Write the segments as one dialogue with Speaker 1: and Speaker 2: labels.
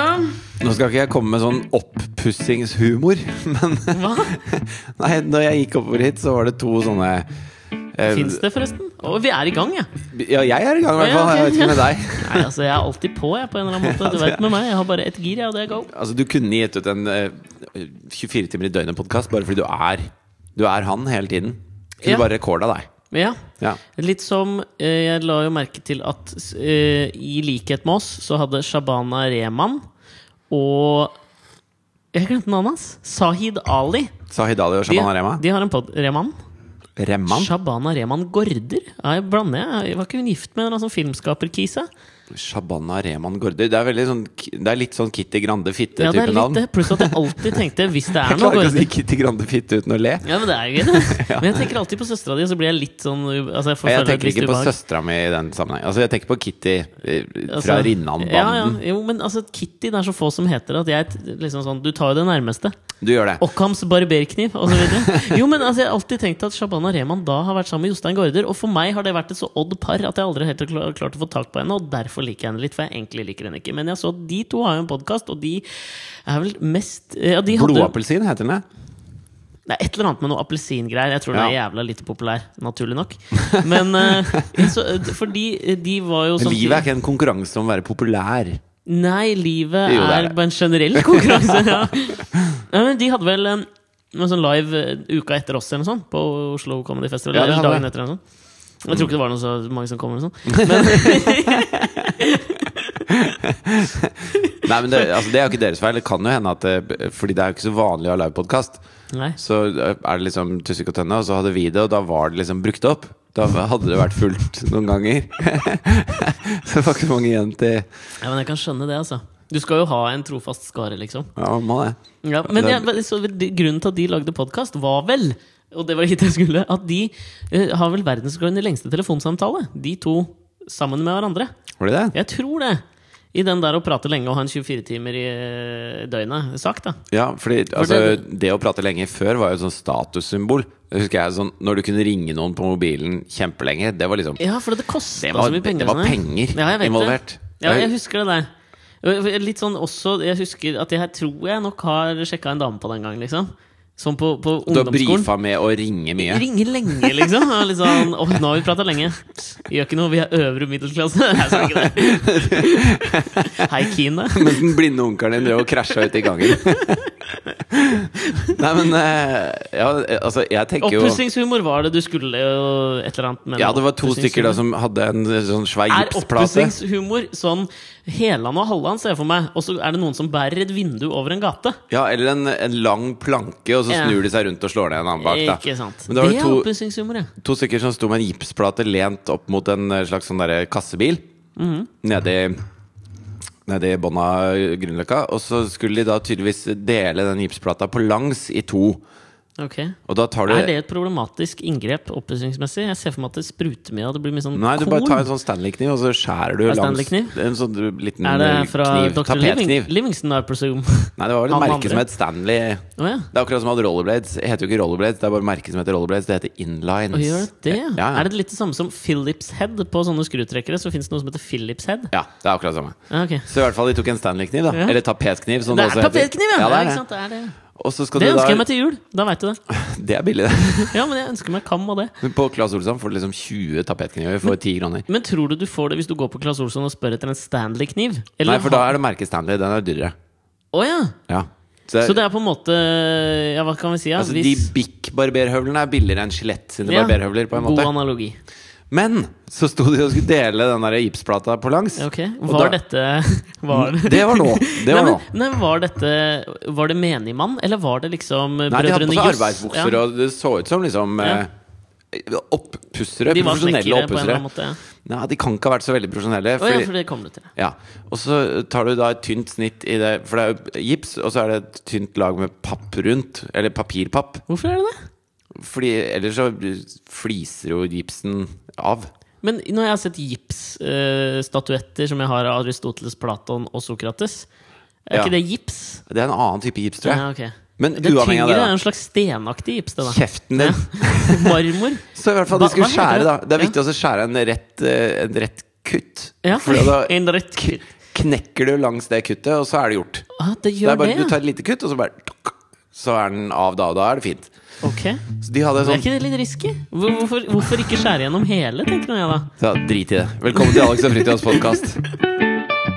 Speaker 1: Nå skal ikke jeg komme med sånn oppussingshumor, men
Speaker 2: Hva?
Speaker 1: Nei, når jeg gikk oppover hit, så var det to sånne eh,
Speaker 2: Fins det, forresten? Og vi er i gang, jeg.
Speaker 1: Ja, jeg er i gang, i hvert
Speaker 2: Ja,
Speaker 1: fall. Jeg
Speaker 2: ok.
Speaker 1: vet ikke med deg.
Speaker 2: Nei, altså, jeg er alltid på, jeg, på en eller annen måte. Du vet med meg. Jeg har bare ett gir, jeg, og det er go.
Speaker 1: Altså, du kunne gitt ut en eh, 24 timer i døgnet-podkast bare fordi du er Du er han hele tiden. Kunne
Speaker 2: Ja.
Speaker 1: bare rekorda deg.
Speaker 2: Ja.
Speaker 1: Ja.
Speaker 2: Litt som eh, Jeg la jo merke til at eh, i likhet med oss så hadde Shabana Rehman og Jeg glemte navnet hans. Sahid Ali.
Speaker 1: Sahid Ali og
Speaker 2: De,
Speaker 1: Shabana Rema.
Speaker 2: de har en pod... Rehman?
Speaker 1: Remman?
Speaker 2: Shabana Rehman Gaarder? Ja, jeg blander jeg. jeg. Var ikke hun gift med en eller annen sånn filmskaperkise?
Speaker 1: Shabana Rehman Gaarder. Det er, veldig sånn, det er litt sånn Kitty Grande
Speaker 2: Ja, det
Speaker 1: Fitte-type
Speaker 2: er litt
Speaker 1: navn.
Speaker 2: det. Pluss at jeg alltid tenkte, hvis det er
Speaker 1: Jeg
Speaker 2: noe
Speaker 1: klarer ikke å
Speaker 2: Gaarder
Speaker 1: si Kitty Grande Fitte uten å le.
Speaker 2: Ja, men det er jo gøy, det. Men jeg tenker alltid på søstera di, og så blir jeg litt sånn altså jeg, får
Speaker 1: Jeg
Speaker 2: føle et
Speaker 1: tenker
Speaker 2: visst
Speaker 1: ikke på
Speaker 2: ubehag.
Speaker 1: søstera mi i den sammenheng. Altså, jeg tenker på Kitty eh, fra
Speaker 2: Altså,
Speaker 1: Rinnan-banden.
Speaker 2: Ja, ja. Jo, men altså, Kitty, det er så få som heter det, at jeg t- liksom sånn Du tar jo det nærmeste.
Speaker 1: Du gjør det.
Speaker 2: Ockhams barberkniv, og så videre Jo, men altså, jeg har alltid tenkt at Shabana Rehman da har vært sammen med Jostein Gaarder, og for meg har det vært et så odd par at jeg aldri helt har kla- klart å få tak på henne, og derfor liker jeg henne litt, for jeg egentlig liker henne ikke. Men jeg så at de to har jo en podkast, og de er vel mest Ja, de hadde
Speaker 1: Blodappelsin heter den det.
Speaker 2: Nei, et eller annet med noe appelsingreier. Jeg tror den er
Speaker 1: Ja.
Speaker 2: jævla lite populær, naturlig nok. Men eh, så, eh, Fordi eh, de var jo
Speaker 1: Men
Speaker 2: samtidig-
Speaker 1: Livet er ikke en konkurranse om å være populær.
Speaker 2: Nei, livet
Speaker 1: Jo, det er
Speaker 2: er
Speaker 1: det.
Speaker 2: på en generell konkurranse. ja. Nei, men de hadde vel eh, noe sånn live eh, uka etter oss eller noe sånt, på Oslo Comedy Festival.
Speaker 1: Ja,
Speaker 2: eller
Speaker 1: det hadde
Speaker 2: dagen
Speaker 1: det.
Speaker 2: etter eller noe sånt. Jeg tror ikke det var noe så mange som kom. Eller sånn.
Speaker 1: Nei, men det, altså, det er jo ikke deres feil. Det kan jo hende at eh, Fordi det er jo ikke så vanlig å ha livepodkast.
Speaker 2: Men nei.
Speaker 1: Så eh, er det liksom Tusvik og Tønne, og så hadde vi det, og da var det liksom brukt opp. Da hadde det vært fullt noen ganger. så det var ikke så mange igjen til Ja,
Speaker 2: Nei, men jeg kan skjønne det, altså. Du skal jo ha en trofast skare, liksom.
Speaker 1: man må det.
Speaker 2: Ja, men
Speaker 1: Det-
Speaker 2: jeg, men så, de- grunnen til at de lagde podkast, var vel Og det var hit jeg skulle at de eh, har vel verdensrekorden i lengste telefonsamtale. De to sammen med hverandre.
Speaker 1: Var det det?
Speaker 2: Jeg tror det. I den der å prate lenge og ha en 24 timer i eh, døgnet-sak, da.
Speaker 1: Ja, fordi altså,
Speaker 2: det-
Speaker 1: det å prate lenge før var jo et sånt statussymbol. Det husker jeg sånn Når du kunne ringe noen på mobilen kjempelenge, det var liksom
Speaker 2: Ja, for det kosta
Speaker 1: Det var,
Speaker 2: så mye penger.
Speaker 1: det var
Speaker 2: sånn, ja.
Speaker 1: penger
Speaker 2: Ja, jeg vet det.
Speaker 1: involvert.
Speaker 2: Ja, jeg husker det der. Litt sånn også Jeg husker at jeg her tror jeg nok har sjekka en dame på den gangen, liksom. Som på, på
Speaker 1: Du har
Speaker 2: ungdomsskolen.
Speaker 1: brifa med å ringe mye.
Speaker 2: Ringe lenge, liksom. Det var Litt sånn, Åh, nå har vi prata lenge. Gjør ikke noe, vi er øvre middelklasse. Jeg sa ikke det. Hei, Kine.
Speaker 1: Mens den blinde onkelen din drev og krasja ute i gangen. Nei, men eh, Ja, altså, jeg tenker jo
Speaker 2: Oppussingshumor var det du skulle jo et eller annet med.
Speaker 1: Ja, det var to stykker da som hadde en sånn svær
Speaker 2: Er
Speaker 1: gipsplate.
Speaker 2: oppussingshumor sånn Heland og Halland, ser jeg for meg, og så er det noen som bærer et vindu over en gate?
Speaker 1: Ja, eller en, en lang planke, og så
Speaker 2: Ja.
Speaker 1: snur de seg rundt og slår ned en annen bak. Da.
Speaker 2: Ikke sant.
Speaker 1: Men det var
Speaker 2: det
Speaker 1: jo
Speaker 2: er
Speaker 1: to,
Speaker 2: oppussingshumor, ja.
Speaker 1: to stykker som sto med en gipsplate lent opp mot en eh, slags sånn derre kassebil
Speaker 2: Mhm.
Speaker 1: nedi, nedi bånn av Grünerløkka. Og så skulle de da tydeligvis dele den gipsplata på langs i to.
Speaker 2: Ok.
Speaker 1: Og da tar du
Speaker 2: Er det et problematisk inngrep oppussingsmessig? Jeg ser for meg at det spruter mye, og det blir mye sånn
Speaker 1: Nei, du
Speaker 2: korn.
Speaker 1: bare tar en sånn Stanley-kniv, og så skjærer du
Speaker 2: Er det
Speaker 1: langs
Speaker 2: Stanley-kniv?
Speaker 1: en sånn liten
Speaker 2: Er det fra
Speaker 1: kniv.
Speaker 2: Dr. Living
Speaker 1: Tapetkniv.
Speaker 2: Livingston, I presume?
Speaker 1: Nei, det var vel
Speaker 2: Han
Speaker 1: et merke
Speaker 2: andre.
Speaker 1: som het Stanley.
Speaker 2: Å ja.
Speaker 1: Det er akkurat som at rollerblades det heter jo ikke rollerblades, det er bare merket som heter rollerblades. Det heter inlines.
Speaker 2: Og gjør det?
Speaker 1: Ja, ja.
Speaker 2: Er det litt det samme som Philips Head? På sånne skrutrekkere så fins det noe som heter Philips Head.
Speaker 1: ja, det er akkurat det samme.
Speaker 2: Ja, ok.
Speaker 1: Så i hvert fall de tok en Stanley-kniv, da.
Speaker 2: Ja.
Speaker 1: Eller tapetkniv. Som
Speaker 2: Det
Speaker 1: også
Speaker 2: er
Speaker 1: heter.
Speaker 2: tapetkniv, ja!
Speaker 1: ja det, er
Speaker 2: ikke
Speaker 1: det.
Speaker 2: sant? Det, er det.
Speaker 1: Og så skal
Speaker 2: det
Speaker 1: du da
Speaker 2: ønsker jeg meg til jul! Da veit du det.
Speaker 1: Det er billig, det.
Speaker 2: Ja, men jeg ønsker meg kam og det.
Speaker 1: Men På Claes Olsson får du liksom 20 tapetkniver for 10 kroner.
Speaker 2: Men tror du du får det hvis du går på Claes Olsson og spør etter en Stanley-kniv?
Speaker 1: Nei, for da er det merket Stanley. Den er dyrere.
Speaker 2: Å ja!
Speaker 1: Ja. Så,
Speaker 2: Så det er på en måte Ja, hva kan vi si? Ja?
Speaker 1: altså, de
Speaker 2: Hvis-
Speaker 1: Bic-barberhøvlene er billigere enn Skjelett sine
Speaker 2: ja,
Speaker 1: barberhøvler, på en måte.
Speaker 2: God analogi.
Speaker 1: Men så sto de og skulle dele den der gipsplata på langs.
Speaker 2: Ok,
Speaker 1: Og
Speaker 2: Var
Speaker 1: da- Mm,
Speaker 2: dette Var
Speaker 1: Det var nå. Det var
Speaker 2: nei,
Speaker 1: nå.
Speaker 2: men, nei, var dette Var det menigmann, eller var det liksom
Speaker 1: Nei, de hadde
Speaker 2: Brødrene
Speaker 1: på seg
Speaker 2: Juss?
Speaker 1: arbeidsbukser,
Speaker 2: Ja,
Speaker 1: og det så ut som liksom
Speaker 2: Ja.
Speaker 1: eh, Oppussere.
Speaker 2: de var snekkere
Speaker 1: Profesjonelle
Speaker 2: på en eller
Speaker 1: oppussere.
Speaker 2: annen måte. Ja.
Speaker 1: Nei, de kan ikke ha vært så veldig
Speaker 2: Å
Speaker 1: profesjonelle.
Speaker 2: ja,
Speaker 1: Fordi,
Speaker 2: for det kom du til.
Speaker 1: ja. Og så tar du da et tynt snitt i det For det er jo gips, og så er det et tynt lag med papp rundt. Eller papirpapp.
Speaker 2: Hvorfor er det det?
Speaker 1: Fordi ellers så fliser jo gipsen av.
Speaker 2: Men når jeg har sett gipsstatuetter som jeg har av Aristoteles, Platon og Sokrates, er
Speaker 1: Ja.
Speaker 2: ikke det gips?
Speaker 1: Det er en annen type gips, tror jeg.
Speaker 2: Ja, ok.
Speaker 1: Men
Speaker 2: Det
Speaker 1: uavhengig av
Speaker 2: tyngre er
Speaker 1: det, da.
Speaker 2: en slags stenaktig gips. Det, da.
Speaker 1: Kjeften din.
Speaker 2: Marmor.
Speaker 1: Så i hvert fall
Speaker 2: Hva-
Speaker 1: de skulle
Speaker 2: hva heter
Speaker 1: skjære, da.
Speaker 2: det?
Speaker 1: Det er
Speaker 2: Ja.
Speaker 1: viktig også å skjære en rett, eh, en rett kutt.
Speaker 2: Ja.
Speaker 1: Fordi da
Speaker 2: En rett kutt.
Speaker 1: knekker du langs det kuttet, og så er det gjort.
Speaker 2: Ah, det
Speaker 1: Det
Speaker 2: gjør
Speaker 1: er
Speaker 2: det,
Speaker 1: bare, du tar et lite kutt, og så bare tok, Så er den av da, og da er det fint.
Speaker 2: ja. Ok.
Speaker 1: Så de hadde
Speaker 2: Men
Speaker 1: sånn
Speaker 2: Er ikke det litt risky? Hvor- Hvorfor, hvorfor ikke skjære gjennom hele, tenker nå jeg da.
Speaker 1: Ja, drit i det. Velkommen til Alex og Fritjofs podkast.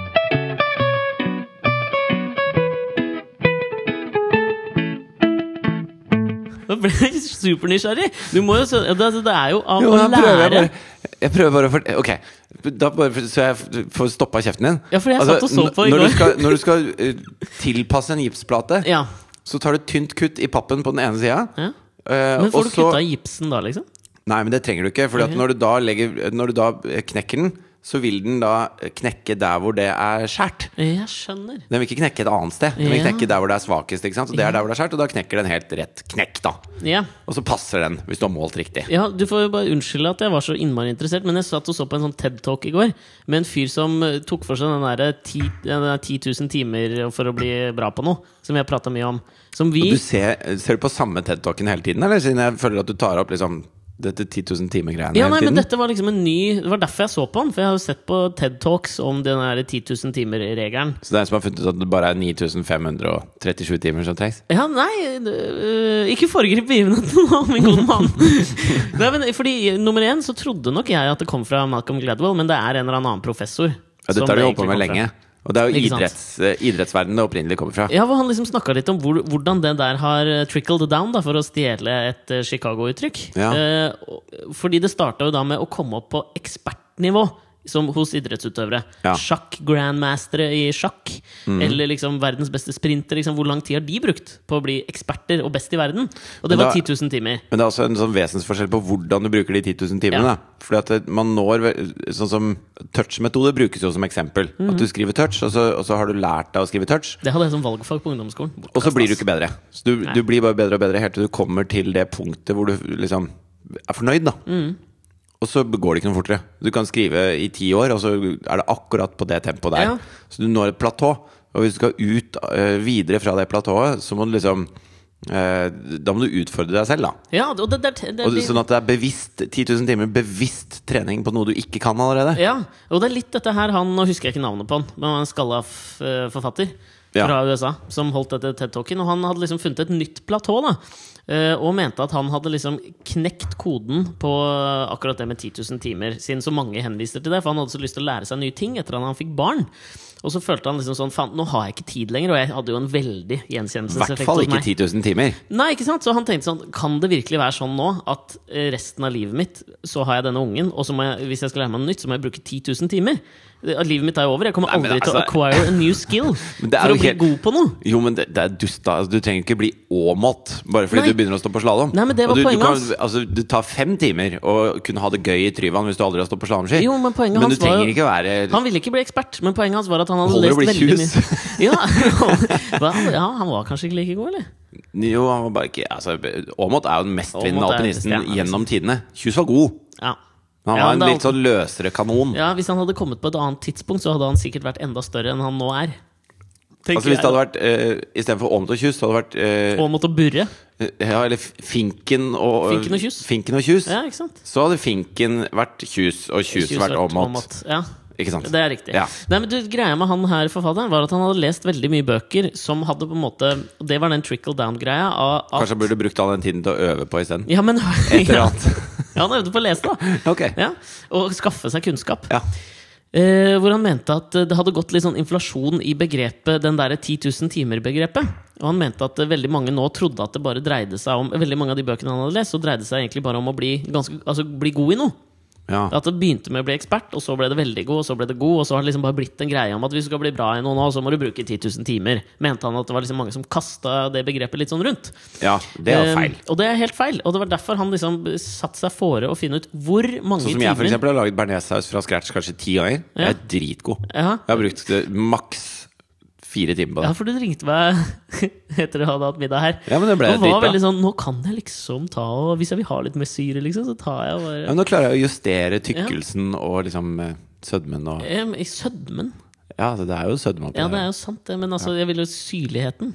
Speaker 2: Da ble jeg supernysgjerrig! Du må jo sø- ja, Det, det er jo av
Speaker 1: Jo,
Speaker 2: å
Speaker 1: men da prøver jeg
Speaker 2: lære.
Speaker 1: bare Jeg prøver bare å fort- Ok, da bare for, så jeg f- får stoppa kjeften din. Altså,
Speaker 2: Ja, for jeg satt og så
Speaker 1: n-
Speaker 2: på i
Speaker 1: når
Speaker 2: går.
Speaker 1: Du skal, når du skal eh, tilpasse en gipsplate,
Speaker 2: Ja.
Speaker 1: så tar du et tynt kutt i pappen på den ene eh, sida.
Speaker 2: ja. Men får du kutta gipsen da, liksom?
Speaker 1: Nei, men det trenger du ikke. Fordi
Speaker 2: Ok.
Speaker 1: at når du, da legger, når du da eh, knekker den, så vil den da eh, knekke der hvor det er skjært.
Speaker 2: Jeg skjønner.
Speaker 1: Den vil ikke knekke et annet sted. Den vil
Speaker 2: Ja.
Speaker 1: knekke der hvor det er svakest. Ikke sant? Og det er der hvor det er skjært, og da knekker den helt rett. Knekk, da.
Speaker 2: Ja.
Speaker 1: Og så passer den, hvis du har målt riktig.
Speaker 2: Ja, Du får jo bare unnskylde at jeg var så innmari interessert, men jeg satt og så på en sånn TED-talk i går med en fyr som eh, tok for seg den derre 10 den der 10 000 timer for å bli bra på noe, som jeg prata mye om. Som vi
Speaker 1: Du ser, ser du på samme TED-talken hele tiden, eller? Siden jeg føler at du tar opp liksom dette 10 000 timer-greiene
Speaker 2: Ja, nei,
Speaker 1: hele
Speaker 2: men
Speaker 1: tiden.
Speaker 2: dette var liksom en ny Det var derfor jeg så på den, for jeg har jo sett på TED Talks om den der 10 000 timer-regelen.
Speaker 1: Så det er en som har funnet ut at det bare er 9537 timer som trengs?
Speaker 2: Ja, nei øh, Ikke foregrip begivenheten nå, min gode mann. nei, men fordi Nummer én så trodde nok jeg at det kom fra Malcolm Gladwell, men det er en eller annen professor.
Speaker 1: Ja,
Speaker 2: som
Speaker 1: dette har
Speaker 2: det
Speaker 1: du holdt
Speaker 2: egentlig
Speaker 1: på med
Speaker 2: kom fra.
Speaker 1: lenge. Og det er jo
Speaker 2: Ikke sant?
Speaker 1: idretts, eh, idrettsverdenen det opprinnelig kommer fra.
Speaker 2: Ja, hvor Han liksom snakka litt om hvor, hvordan det der har eh, trickled down, da, for å stjele et eh, Chicago-uttrykk.
Speaker 1: Ja.
Speaker 2: Eh, og- fordi det starta jo da med å komme opp på ekspertnivå. Som hos idrettsutøvere.
Speaker 1: Ja. Mm.
Speaker 2: Sjakk-grandmastere i sjakk. Eller liksom verdens beste sprinter. Liksom, hvor lang tid har de brukt på å bli eksperter og best i verden? Og det
Speaker 1: Men
Speaker 2: var
Speaker 1: da-
Speaker 2: 10 000 timer.
Speaker 1: Men det er også en sånn vesensforskjell på hvordan du bruker de 10 000 timene.
Speaker 2: Ja.
Speaker 1: da. Fordi at det- man når ve- Sånn som touch-metode brukes jo som eksempel.
Speaker 2: Mhm.
Speaker 1: At du skriver touch, og så, og så har du lært deg å skrive touch.
Speaker 2: Det hadde jeg som valgfag på ungdomsskolen.
Speaker 1: Og så blir du ikke bedre. Så du,
Speaker 2: sånn. Nei.
Speaker 1: du blir bare bedre og bedre helt til du kommer til det punktet hvor du liksom er fornøyd, da.
Speaker 2: Mhm.
Speaker 1: Og så går det ikke noe fortere. Du kan skrive i ti år, og så er det akkurat på det tempoet der.
Speaker 2: Ja.
Speaker 1: Så du når et platå. Og hvis du skal ut eh, videre fra det platået, så må du liksom eh, Da må du utfordre deg selv, da.
Speaker 2: Ja, og det, det, det, det,
Speaker 1: Og det, sånn at det er bevisst 10 000 timer bevisst trening på noe du ikke kan allerede.
Speaker 2: Ja, og det er litt dette her han, Nå husker jeg ikke navnet på han, men han var en skalla f- eh, forfatter
Speaker 1: Ja.
Speaker 2: fra USA som holdt dette TED-talken. Og han hadde liksom funnet et nytt platå, da. eh, Og mente at han hadde liksom knekt koden på eh, akkurat det med 10 000 timer, siden så mange henviser til det. For han hadde så lyst til å lære seg nye ting etter at han fikk barn. Og så følte han liksom sånn Faen, nå har jeg ikke tid lenger. Og jeg hadde jo en veldig
Speaker 1: I hvert
Speaker 2: gjenkjennelseseffekt
Speaker 1: fall
Speaker 2: hos
Speaker 1: ikke
Speaker 2: meg.
Speaker 1: 10 000 timer.
Speaker 2: Nei, ikke sant? Så han tenkte sånn Kan det virkelig være sånn nå at eh, resten av livet mitt så har jeg denne ungen, og så må jeg, hvis jeg skal lære meg noe nytt, så må jeg bruke 10 000 timer? Det- at Livet mitt er jo over. Jeg kommer
Speaker 1: Nei, men
Speaker 2: aldri til å
Speaker 1: altså-
Speaker 2: acquire a new skill
Speaker 1: Men det er
Speaker 2: for å
Speaker 1: jo
Speaker 2: bli
Speaker 1: helt-
Speaker 2: god på noe.
Speaker 1: Jo, men det, det er dust, da. Altså, du trenger ikke bli Aamodt bare fordi
Speaker 2: Nei.
Speaker 1: du begynner å stå på slalåm.
Speaker 2: Nei, men det var
Speaker 1: du,
Speaker 2: poenget
Speaker 1: du kan,
Speaker 2: hans.
Speaker 1: altså, det tar fem timer å kunne ha det gøy i Tryvann hvis du aldri har stått på slalåmski.
Speaker 2: Jo, men poenget hans
Speaker 1: du
Speaker 2: var
Speaker 1: trenger
Speaker 2: jo-
Speaker 1: ikke være
Speaker 2: Han ville ikke bli ekspert, men poenget hans var at han hadde
Speaker 1: Holder å
Speaker 2: lest
Speaker 1: bli
Speaker 2: veldig
Speaker 1: tjus.
Speaker 2: mye. Ja, hva- ja, han var kanskje ikke like god, eller?
Speaker 1: Jo, han var bare ikke altså, Aamodt er jo den mestvinnende
Speaker 2: Aamodt er
Speaker 1: alpinisten
Speaker 2: den beste, ja.
Speaker 1: gjennom tidene. Kjus var god.
Speaker 2: Ja.
Speaker 1: Men Han
Speaker 2: Ja,
Speaker 1: var
Speaker 2: men
Speaker 1: en
Speaker 2: det er
Speaker 1: litt sånn løsere kanon.
Speaker 2: ja, Hvis han hadde kommet på et annet tidspunkt, så hadde han sikkert vært enda større enn han nå er. Tenker
Speaker 1: Altså Hvis det
Speaker 2: jeg.
Speaker 1: hadde vært eh, istedenfor Aamodt og Kjus, så hadde det vært eh,
Speaker 2: Og måtte burre.
Speaker 1: Ja, eller F- Finken og
Speaker 2: Finken og Kjus.
Speaker 1: Finken og Kjus.
Speaker 2: Ja, ikke sant?
Speaker 1: Så hadde Finken vært Kjus, og Kjus, vært Aamodt.
Speaker 2: Aamodt. Ja.
Speaker 1: Ikke sant?
Speaker 2: Det er riktig.
Speaker 1: Ja.
Speaker 2: Nei, men du, greia med han her forfatteren var at han hadde lest veldig mye bøker som hadde på en måte og Det var den trickle down-greia. av- av-
Speaker 1: Kanskje han burde brukt all den tiden til å øve på isteden.
Speaker 2: Ja, men
Speaker 1: Et eller
Speaker 2: ja,
Speaker 1: annet.
Speaker 2: Han øvde på å lese, da.
Speaker 1: Ok.
Speaker 2: Ja, og skaffe seg kunnskap.
Speaker 1: Ja.
Speaker 2: Eh, hvor han mente at eh, det hadde gått litt sånn inflasjon i begrepet den derre 10 000 timer-begrepet. Og han mente at eh, veldig mange nå trodde at det bare dreide seg om Veldig mange av de bøkene han hadde lest, så dreide det seg egentlig bare om å bli, ganske, altså, bli god i noe.
Speaker 1: ja.
Speaker 2: At det begynte med å bli ekspert, og så ble det veldig god, og så ble det god, og så har det liksom bare blitt en greie om at hvis du skal bli bra i noe nå, så må du bruke 10 000 timer. Mente han at det var liksom mange som kasta det begrepet litt sånn rundt.
Speaker 1: ja. Det er
Speaker 2: Eh,
Speaker 1: jo feil.
Speaker 2: og det er helt feil. Og det var derfor han liksom satte seg fore å finne ut hvor mange
Speaker 1: Sånn som jeg for
Speaker 2: timer
Speaker 1: eksempel har laget bearnéssaus fra scratch kanskje ti ganger. Jeg er dritgod.
Speaker 2: Ja.
Speaker 1: Jeg har brukt eh, maks fire timer på
Speaker 2: Ja,
Speaker 1: det.
Speaker 2: for du ringte meg etter jeg hadde hatt middag her.
Speaker 1: Ja, men det ble
Speaker 2: og var
Speaker 1: dritbra.
Speaker 2: veldig sånn Nå kan jeg liksom ta og Hvis jeg vil ha litt mer syre, liksom, så tar jeg og
Speaker 1: Ja,
Speaker 2: bare
Speaker 1: men nå klarer jeg å justere tykkelsen og liksom eh, sødmen og
Speaker 2: Em, I sødmen.
Speaker 1: Ja, altså, det er jo sødme oppi
Speaker 2: Ja, det
Speaker 1: der.
Speaker 2: er jo sant, det. Men altså, jeg vil jo syrligheten.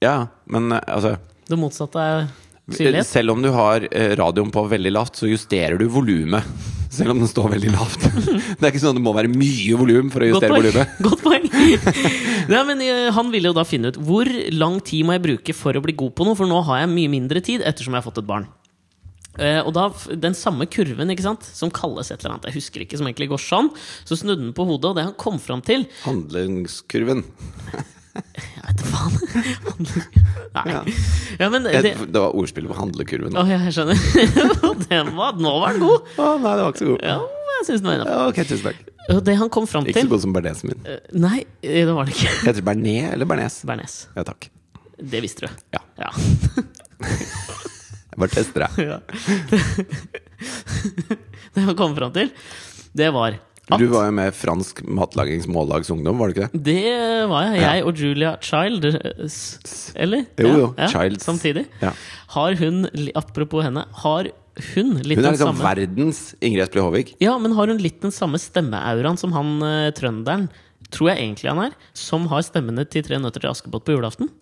Speaker 1: Ja, men eh, altså
Speaker 2: Det motsatte er syrlighet.
Speaker 1: eh, Selv om du har eh, radioen på veldig lavt, så justerer du volumet. Selv om den står veldig lavt. Det er ikke sånn at det må være mye volum for å
Speaker 2: Godt
Speaker 1: justere
Speaker 2: poeng.
Speaker 1: volumet.
Speaker 2: Godt poeng. Nei, men eh, Han ville jo da finne ut hvor lang tid må jeg bruke for å bli god på noe, for nå har jeg mye mindre tid ettersom jeg har fått et barn. Eh, og da, f- Den samme kurven ikke sant? som kalles et eller annet, jeg husker ikke, som egentlig går sånn, så snudde den på hodet, og det han kom fram til
Speaker 1: Handlingskurven.
Speaker 2: Jeg vet da faen. Nei.
Speaker 1: Ja.
Speaker 2: Ja, men
Speaker 1: Det,
Speaker 2: det,
Speaker 1: det var ordspillet på handlekurven.
Speaker 2: Å,
Speaker 1: Å
Speaker 2: ja, jeg skjønner. Og den var, nå var den god!
Speaker 1: nei, det var ikke så god.
Speaker 2: Ja, jeg synes den var innafor.
Speaker 1: Ja, ok, tusen takk.
Speaker 2: Og det han kom fram
Speaker 1: Ikke så
Speaker 2: til
Speaker 1: god som bernesen min.
Speaker 2: eh, Nei, eh, det var det ikke.
Speaker 1: Heter det bearnés eller bearnés?
Speaker 2: Bernes.
Speaker 1: Ja takk.
Speaker 2: Det visste du.
Speaker 1: Ja.
Speaker 2: Ja.
Speaker 1: Jeg bare tester deg.
Speaker 2: ja. Det han kom fram til, det var at
Speaker 1: Du var jo med fransk matlagingsmållagsungdom, var du ikke det?
Speaker 2: Det var jeg. Jeg og Julia Child s- Eller?
Speaker 1: Jo,
Speaker 2: Ja,
Speaker 1: jo,
Speaker 2: ja,
Speaker 1: Childs.
Speaker 2: Samtidig.
Speaker 1: Ja.
Speaker 2: Har hun, li- apropos henne, har hun litt
Speaker 1: Hun er
Speaker 2: den
Speaker 1: liksom
Speaker 2: samme
Speaker 1: verdens Ingrid Espelid Håvik.
Speaker 2: Ja, men har hun litt den samme stemmeauraen som han eh, trønderen, tror jeg egentlig han er, som har stemmene til Tre nøtter til Askepott på julaften?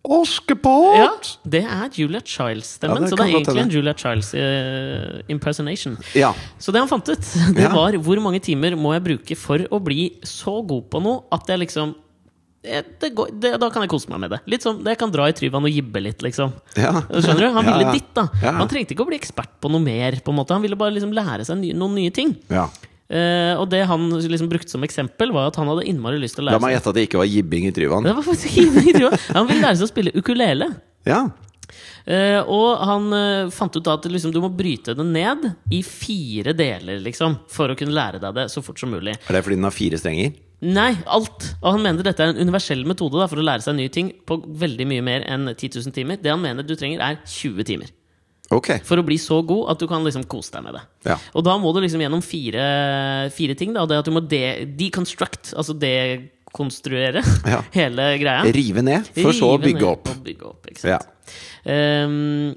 Speaker 1: Askepott!
Speaker 2: Ja, Det er Julia Childs-stemmen,
Speaker 1: Ja, det
Speaker 2: så det
Speaker 1: kan
Speaker 2: er
Speaker 1: godt
Speaker 2: egentlig en
Speaker 1: hende.
Speaker 2: Julia Childs eh, impersonation.
Speaker 1: Ja.
Speaker 2: Så det han fant ut, det
Speaker 1: Ja.
Speaker 2: var hvor mange timer må jeg bruke for å bli så god på noe at jeg liksom eh, det går, det, Da kan jeg kose meg med det. Litt sånn, Jeg kan dra i Tryvann og jibbe litt, liksom.
Speaker 1: Ja.
Speaker 2: Skjønner du? Han
Speaker 1: Ja,
Speaker 2: ville
Speaker 1: ja.
Speaker 2: ditt, da.
Speaker 1: Ja.
Speaker 2: Han trengte ikke å bli ekspert på noe mer. på en måte Han ville bare liksom lære seg ny, noen nye ting.
Speaker 1: Ja.
Speaker 2: Eh, og det han liksom brukte som eksempel, var at han hadde innmari lyst til å
Speaker 1: La
Speaker 2: lære
Speaker 1: meg
Speaker 2: seg
Speaker 1: gjette at det ikke var jibbing i Tryvann.
Speaker 2: Det var faktisk ikke jeg tror. Han ville lære seg å spille ukulele.
Speaker 1: Ja.
Speaker 2: Eh, og han eh, fant ut da at liksom, du må bryte det ned i fire deler, liksom. For å kunne lære deg det så fort som mulig.
Speaker 1: Er det fordi den har fire strenger?
Speaker 2: Nei, alt! Og han mener dette er en universell metode da, for å lære seg nye ting på veldig mye mer enn 10 000 timer. Det han mener du trenger, er 20 timer.
Speaker 1: Ok.
Speaker 2: For å bli så god at du kan liksom kose deg med det.
Speaker 1: Ja.
Speaker 2: Og da må du liksom gjennom fire, fire ting. Da. Det er at du må de deconstruct, altså dekonstruere
Speaker 1: Ja.
Speaker 2: hele greia.
Speaker 1: Rive ned, for så å
Speaker 2: Rive ned
Speaker 1: bygge opp.
Speaker 2: og Bygge opp ikke sant?
Speaker 1: Ja.
Speaker 2: Ehm,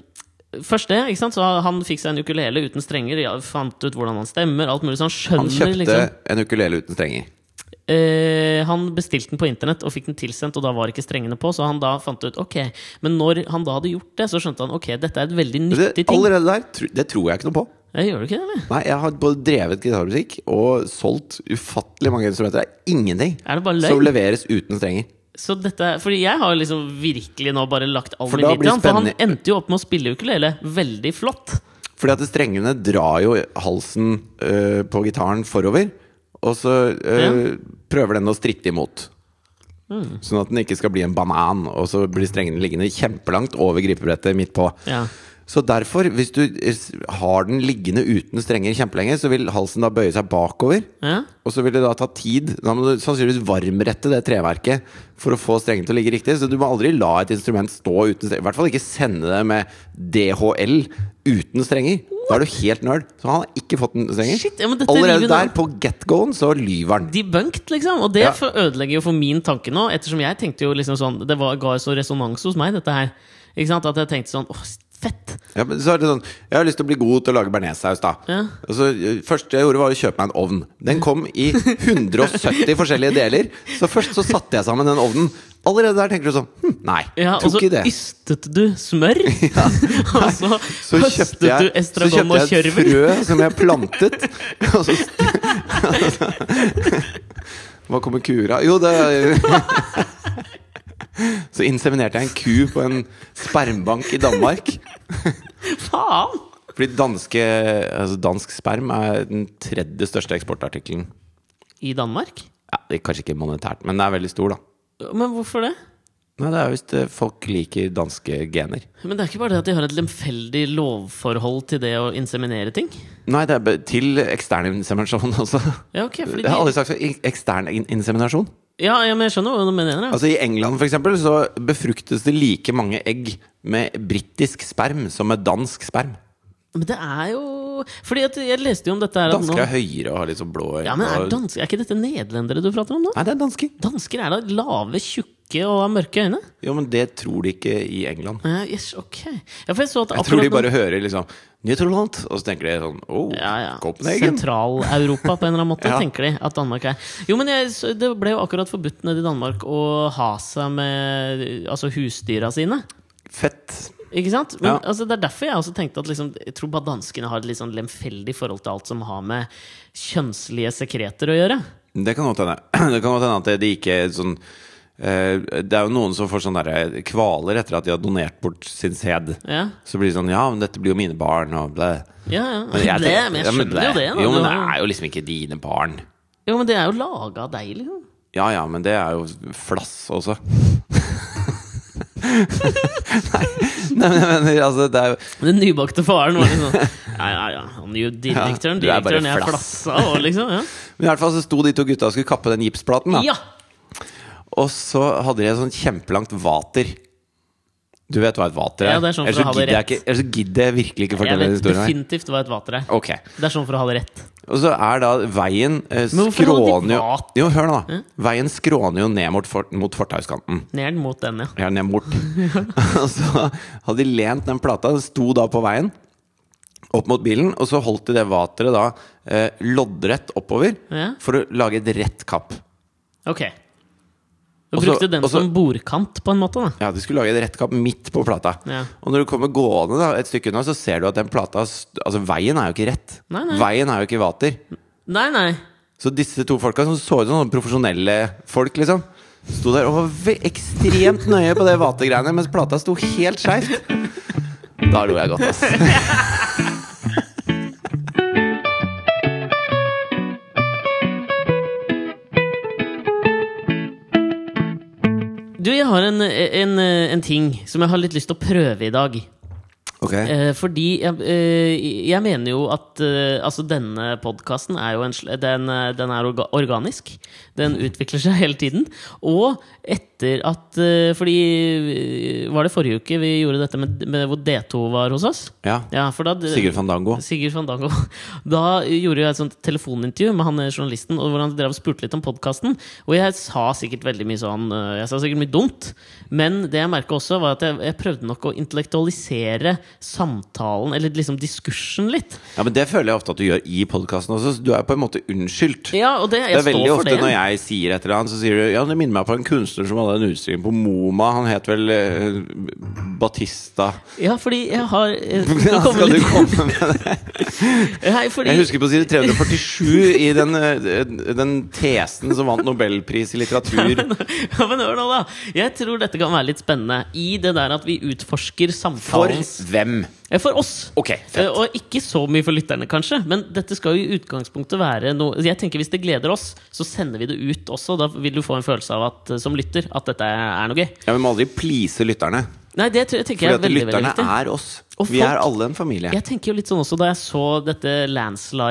Speaker 2: først det, ikke sant? så han fikk seg en ukulele uten strenger, ja, fant ut hvordan han stemmer, alt mulig. Så han
Speaker 1: Han
Speaker 2: skjønner
Speaker 1: kjøpte
Speaker 2: liksom
Speaker 1: en ukulele uten strenger.
Speaker 2: Eh, han bestilte den på internett og fikk den tilsendt, og da var ikke strengene på. Så han da fant ut ok. Men når han da hadde gjort det, så skjønte han ok, dette er et veldig
Speaker 1: Det,
Speaker 2: nyttig ting.
Speaker 1: allerede der, tro- det tror jeg ikke noe på.
Speaker 2: Jeg gjør du ikke det, eller?
Speaker 1: Nei, Jeg har både drevet gitarmusikk og solgt ufattelig mange instrumenter. Det er ingenting
Speaker 2: Er det bare løgn?
Speaker 1: som leveres uten strenger.
Speaker 2: Så dette, fordi jeg har liksom virkelig nå bare lagt all
Speaker 1: For
Speaker 2: min
Speaker 1: da
Speaker 2: lit
Speaker 1: blir
Speaker 2: til han. For han
Speaker 1: spennende-
Speaker 2: endte jo opp med å spille ukulele. Veldig flott.
Speaker 1: Fordi at strengene drar jo halsen øh, på gitaren forover, og så øh, prøver den å stritte imot. Sånn at den ikke skal bli en banan, og så blir strengene liggende kjempelangt over gripebrettet midt på.
Speaker 2: Ja.
Speaker 1: Så derfor, hvis du s- har den liggende uten strenger kjempelenge, så vil halsen da bøye seg bakover.
Speaker 2: Ja.
Speaker 1: Og så vil det da ta tid. Da må du sannsynligvis varmrette det treverket for å få strengen til å ligge riktig. Så du må aldri la et instrument stå uten strenger. I hvert fall ikke sende det med DHL uten strenger. Da er du helt nerd. Så han har ikke fått en strenger.
Speaker 2: Shit, ja, men dette river
Speaker 1: Allerede
Speaker 2: ned.
Speaker 1: der, på get-goen, så lyver han.
Speaker 2: Debunked, liksom. Og det
Speaker 1: Ja.
Speaker 2: for- ødelegger jo for min tanke nå, ettersom jeg tenkte jo liksom sånn Det var, ga jo så resonans hos meg, dette her. Ikke sant? At jeg tenkte sånn åh, fett!
Speaker 1: Ja, men så er det sånn Jeg har lyst til å bli god til å lage bearnéssaus, da.
Speaker 2: Ja.
Speaker 1: Og så, ø, første jeg gjorde, var å kjøpe meg en ovn. Den kom i 170 forskjellige deler. Så først så satte jeg sammen den ovnen. Allerede der tenker du sånn hm, Nei,
Speaker 2: Ja, og
Speaker 1: tok
Speaker 2: så
Speaker 1: ikke det.
Speaker 2: ystet du smør! og så,
Speaker 1: Så
Speaker 2: høstet
Speaker 1: kjøpte jeg,
Speaker 2: du
Speaker 1: så
Speaker 2: estragon og
Speaker 1: kjøpte jeg et
Speaker 2: kjørvel.
Speaker 1: frø som jeg plantet. Og så st- Hva kommer kura? Jo, det Så inseminerte jeg en ku på en spermbank i Danmark.
Speaker 2: Faen!
Speaker 1: Fordi danske, altså dansk sperm er den tredje største eksportartikkelen.
Speaker 2: I Danmark?
Speaker 1: Ja, det er kanskje ikke monetært, men den er veldig stor, da.
Speaker 2: Men hvorfor det?
Speaker 1: Nei, det er hvis det- folk liker danske gener.
Speaker 2: Men det er ikke bare det at de har et lemfeldig lovforhold til det å inseminere ting?
Speaker 1: Nei, det er be- til ekstern inseminasjon også.
Speaker 2: Ja, ok, fordi
Speaker 1: Jeg har
Speaker 2: de,
Speaker 1: aldri sagt så- i- ekstern in- inseminasjon.
Speaker 2: ja, ja, men jeg skjønner hva du mener. Ja.
Speaker 1: Altså I England for eksempel, så befruktes det like mange egg med britisk sperm som med dansk sperm.
Speaker 2: Men det er jo Fordi at jeg leste jo om dette her at
Speaker 1: Dansker
Speaker 2: nå,
Speaker 1: er høyere og har litt sånn blå øyne.
Speaker 2: ja, men er,
Speaker 1: og-
Speaker 2: dansk, er ikke dette nederlendere du prater om nå?
Speaker 1: Nei, det er dansker.
Speaker 2: Dansker er da lave, tjukke og har mørke øyne?
Speaker 1: Jo, men det tror de ikke i England.
Speaker 2: Ja, yes, ok ja, for jeg, så at
Speaker 1: Jeg tror de
Speaker 2: akkurat nå-
Speaker 1: bare hører liksom Nytroland, og så tenker de sånn Å,
Speaker 2: ja, ja.
Speaker 1: Copenhagen.
Speaker 2: Sentral-Europa, på en eller annen måte,
Speaker 1: Ja.
Speaker 2: tenker de at Danmark er. Jo, men jeg, så Det ble jo akkurat forbudt nede i Danmark å ha seg med altså husdyra sine.
Speaker 1: Fett.
Speaker 2: Ikke sant? Men,
Speaker 1: Ja.
Speaker 2: altså, det er derfor jeg også tenkte at liksom, jeg tror bare danskene har et litt sånn lemfeldig forhold til alt som har med kjønnslige sekreter å gjøre.
Speaker 1: Det kan godt hende. Det kan godt hende at de ikke sånn eh, Det er jo noen som får sånne der eh, kvaler etter at de har donert bort sin sæd.
Speaker 2: Ja,
Speaker 1: Så blir det sånn Ja, men dette blir jo mine barn, og blæ.
Speaker 2: ja. ja.
Speaker 1: Men jeg
Speaker 2: det,
Speaker 1: tenker-
Speaker 2: men jeg
Speaker 1: ja,
Speaker 2: skjønner
Speaker 1: men
Speaker 2: jo det. da.
Speaker 1: Jo, men
Speaker 2: Du
Speaker 1: det
Speaker 2: har-
Speaker 1: er jo liksom ikke dine barn.
Speaker 2: jo, men det er jo laga av deg, liksom.
Speaker 1: Ja ja, men det er jo flass også. nei, nei, men jeg mener, altså det er jo
Speaker 2: Men Den nybakte faren var liksom Ja, ja, ja. Han er jo direktøren.
Speaker 1: Ja, du er bare
Speaker 2: Direktøren er
Speaker 1: flass.
Speaker 2: flassa og liksom. Ja.
Speaker 1: Men i hvert fall så sto de to gutta og skulle kappe den gipsplaten, da.
Speaker 2: ja.
Speaker 1: Og så hadde de et sånt kjempelangt vater. Du vet hva et vater er?
Speaker 2: Ja, det er sånn for å
Speaker 1: ellers,
Speaker 2: ha
Speaker 1: så
Speaker 2: det
Speaker 1: gidder jeg
Speaker 2: rett.
Speaker 1: ikke, ellers så gidder jeg virkelig ikke
Speaker 2: Jeg
Speaker 1: fortelle den
Speaker 2: vet
Speaker 1: historien. her.
Speaker 2: definitivt hva et vater er.
Speaker 1: Ok,
Speaker 2: Det er sånn for å ha det rett.
Speaker 1: Og så er da veien eh,
Speaker 2: Men hvorfor hadde de
Speaker 1: skråner jo
Speaker 2: vat?
Speaker 1: Jo, hør nå, da. Veien skråner jo ned mot, for, mot fortauskanten.
Speaker 2: Ned mot den, ja.
Speaker 1: Ja, ned bort. og så hadde de lent den plata, den sto da på veien opp mot bilen, og så holdt de det vateret da eh, loddrett oppover
Speaker 2: Ja.
Speaker 1: for å lage et rett kapp.
Speaker 2: Ok. Du
Speaker 1: Også-
Speaker 2: brukte den
Speaker 1: også-
Speaker 2: som bordkant, på en måte. da
Speaker 1: Ja, de skulle lage et rett kapp midt på plata.
Speaker 2: Ja.
Speaker 1: Og når du kommer gående da, et stykke unna, så ser du at den plata st- Altså, veien er jo ikke rett.
Speaker 2: Nei, nei.
Speaker 1: Veien er jo ikke vater.
Speaker 2: Nei, nei.
Speaker 1: Så disse to folka som så ut som sånne profesjonelle folk, liksom, sto der og var ve- ekstremt nøye på det vategreiene, mens plata sto helt skeivt. Da lo jeg godt, ass.
Speaker 2: Du, jeg har en, en, en ting som jeg har litt lyst til å prøve i dag.
Speaker 1: Ok.
Speaker 2: Eh, fordi jeg, eh, jeg mener jo at eh, Altså, denne podkasten er jo en sl- den, eh, den er orga organisk. Den utvikler seg hele tiden. Og etter at eh, Fordi eh, Var det forrige uke vi gjorde dette med, med hvor D2 var hos oss?
Speaker 1: Ja.
Speaker 2: Ja, for da
Speaker 1: Sigurd Fandango.
Speaker 2: Sigurd Fandango. Da gjorde jeg et sånt telefonintervju med han eh, journalisten, og hvor han drev og spurte litt om podkasten. Og jeg sa sikkert veldig mye sånn eh, Jeg sa sikkert mye dumt. Men det jeg merka også, var at jeg, jeg prøvde nok å intellektualisere samtalen, eller liksom diskursen, litt.
Speaker 1: Ja, men det føler jeg ofte at du gjør i podkasten også, så du er jo på en måte unnskyldt.
Speaker 2: Ja, og det,
Speaker 1: Det
Speaker 2: jeg
Speaker 1: er veldig
Speaker 2: står for
Speaker 1: ofte
Speaker 2: det.
Speaker 1: når jeg sier et eller annet, så sier du Ja, det minner meg på en kunstner som hadde en utstilling på MoMA, han het vel eh, Batista
Speaker 2: Ja, fordi jeg har eh, nå kommer
Speaker 1: Skal du
Speaker 2: litt-
Speaker 1: komme med
Speaker 2: Nei, fordi,
Speaker 1: Jeg husker på side 347 i den, eh, den tesen som vant Nobelpris i litteratur.
Speaker 2: ja, men hør nå, da. Jeg tror dette kan være litt spennende. I det der at vi utforsker
Speaker 1: For
Speaker 2: samtalens
Speaker 1: hvem?
Speaker 2: Eh, For oss.
Speaker 1: Ok, fett.
Speaker 2: Eh, Og ikke så mye for lytterne, kanskje. Men dette skal jo i utgangspunktet være noe Jeg tenker Hvis det gleder oss, så sender vi det ut også. Da vil du få en følelse av at, eh, som lytter at dette er noe gøy.
Speaker 1: Ja, Vi må aldri please lytterne.
Speaker 2: Nei, det tror jeg tenker
Speaker 1: For
Speaker 2: jeg er veldig, veldig
Speaker 1: lytterne
Speaker 2: viktig.
Speaker 1: er oss.
Speaker 2: Og
Speaker 1: Vi
Speaker 2: folk-
Speaker 1: er alle en familie.
Speaker 2: Jeg tenker jo litt sånn også Da jeg så dette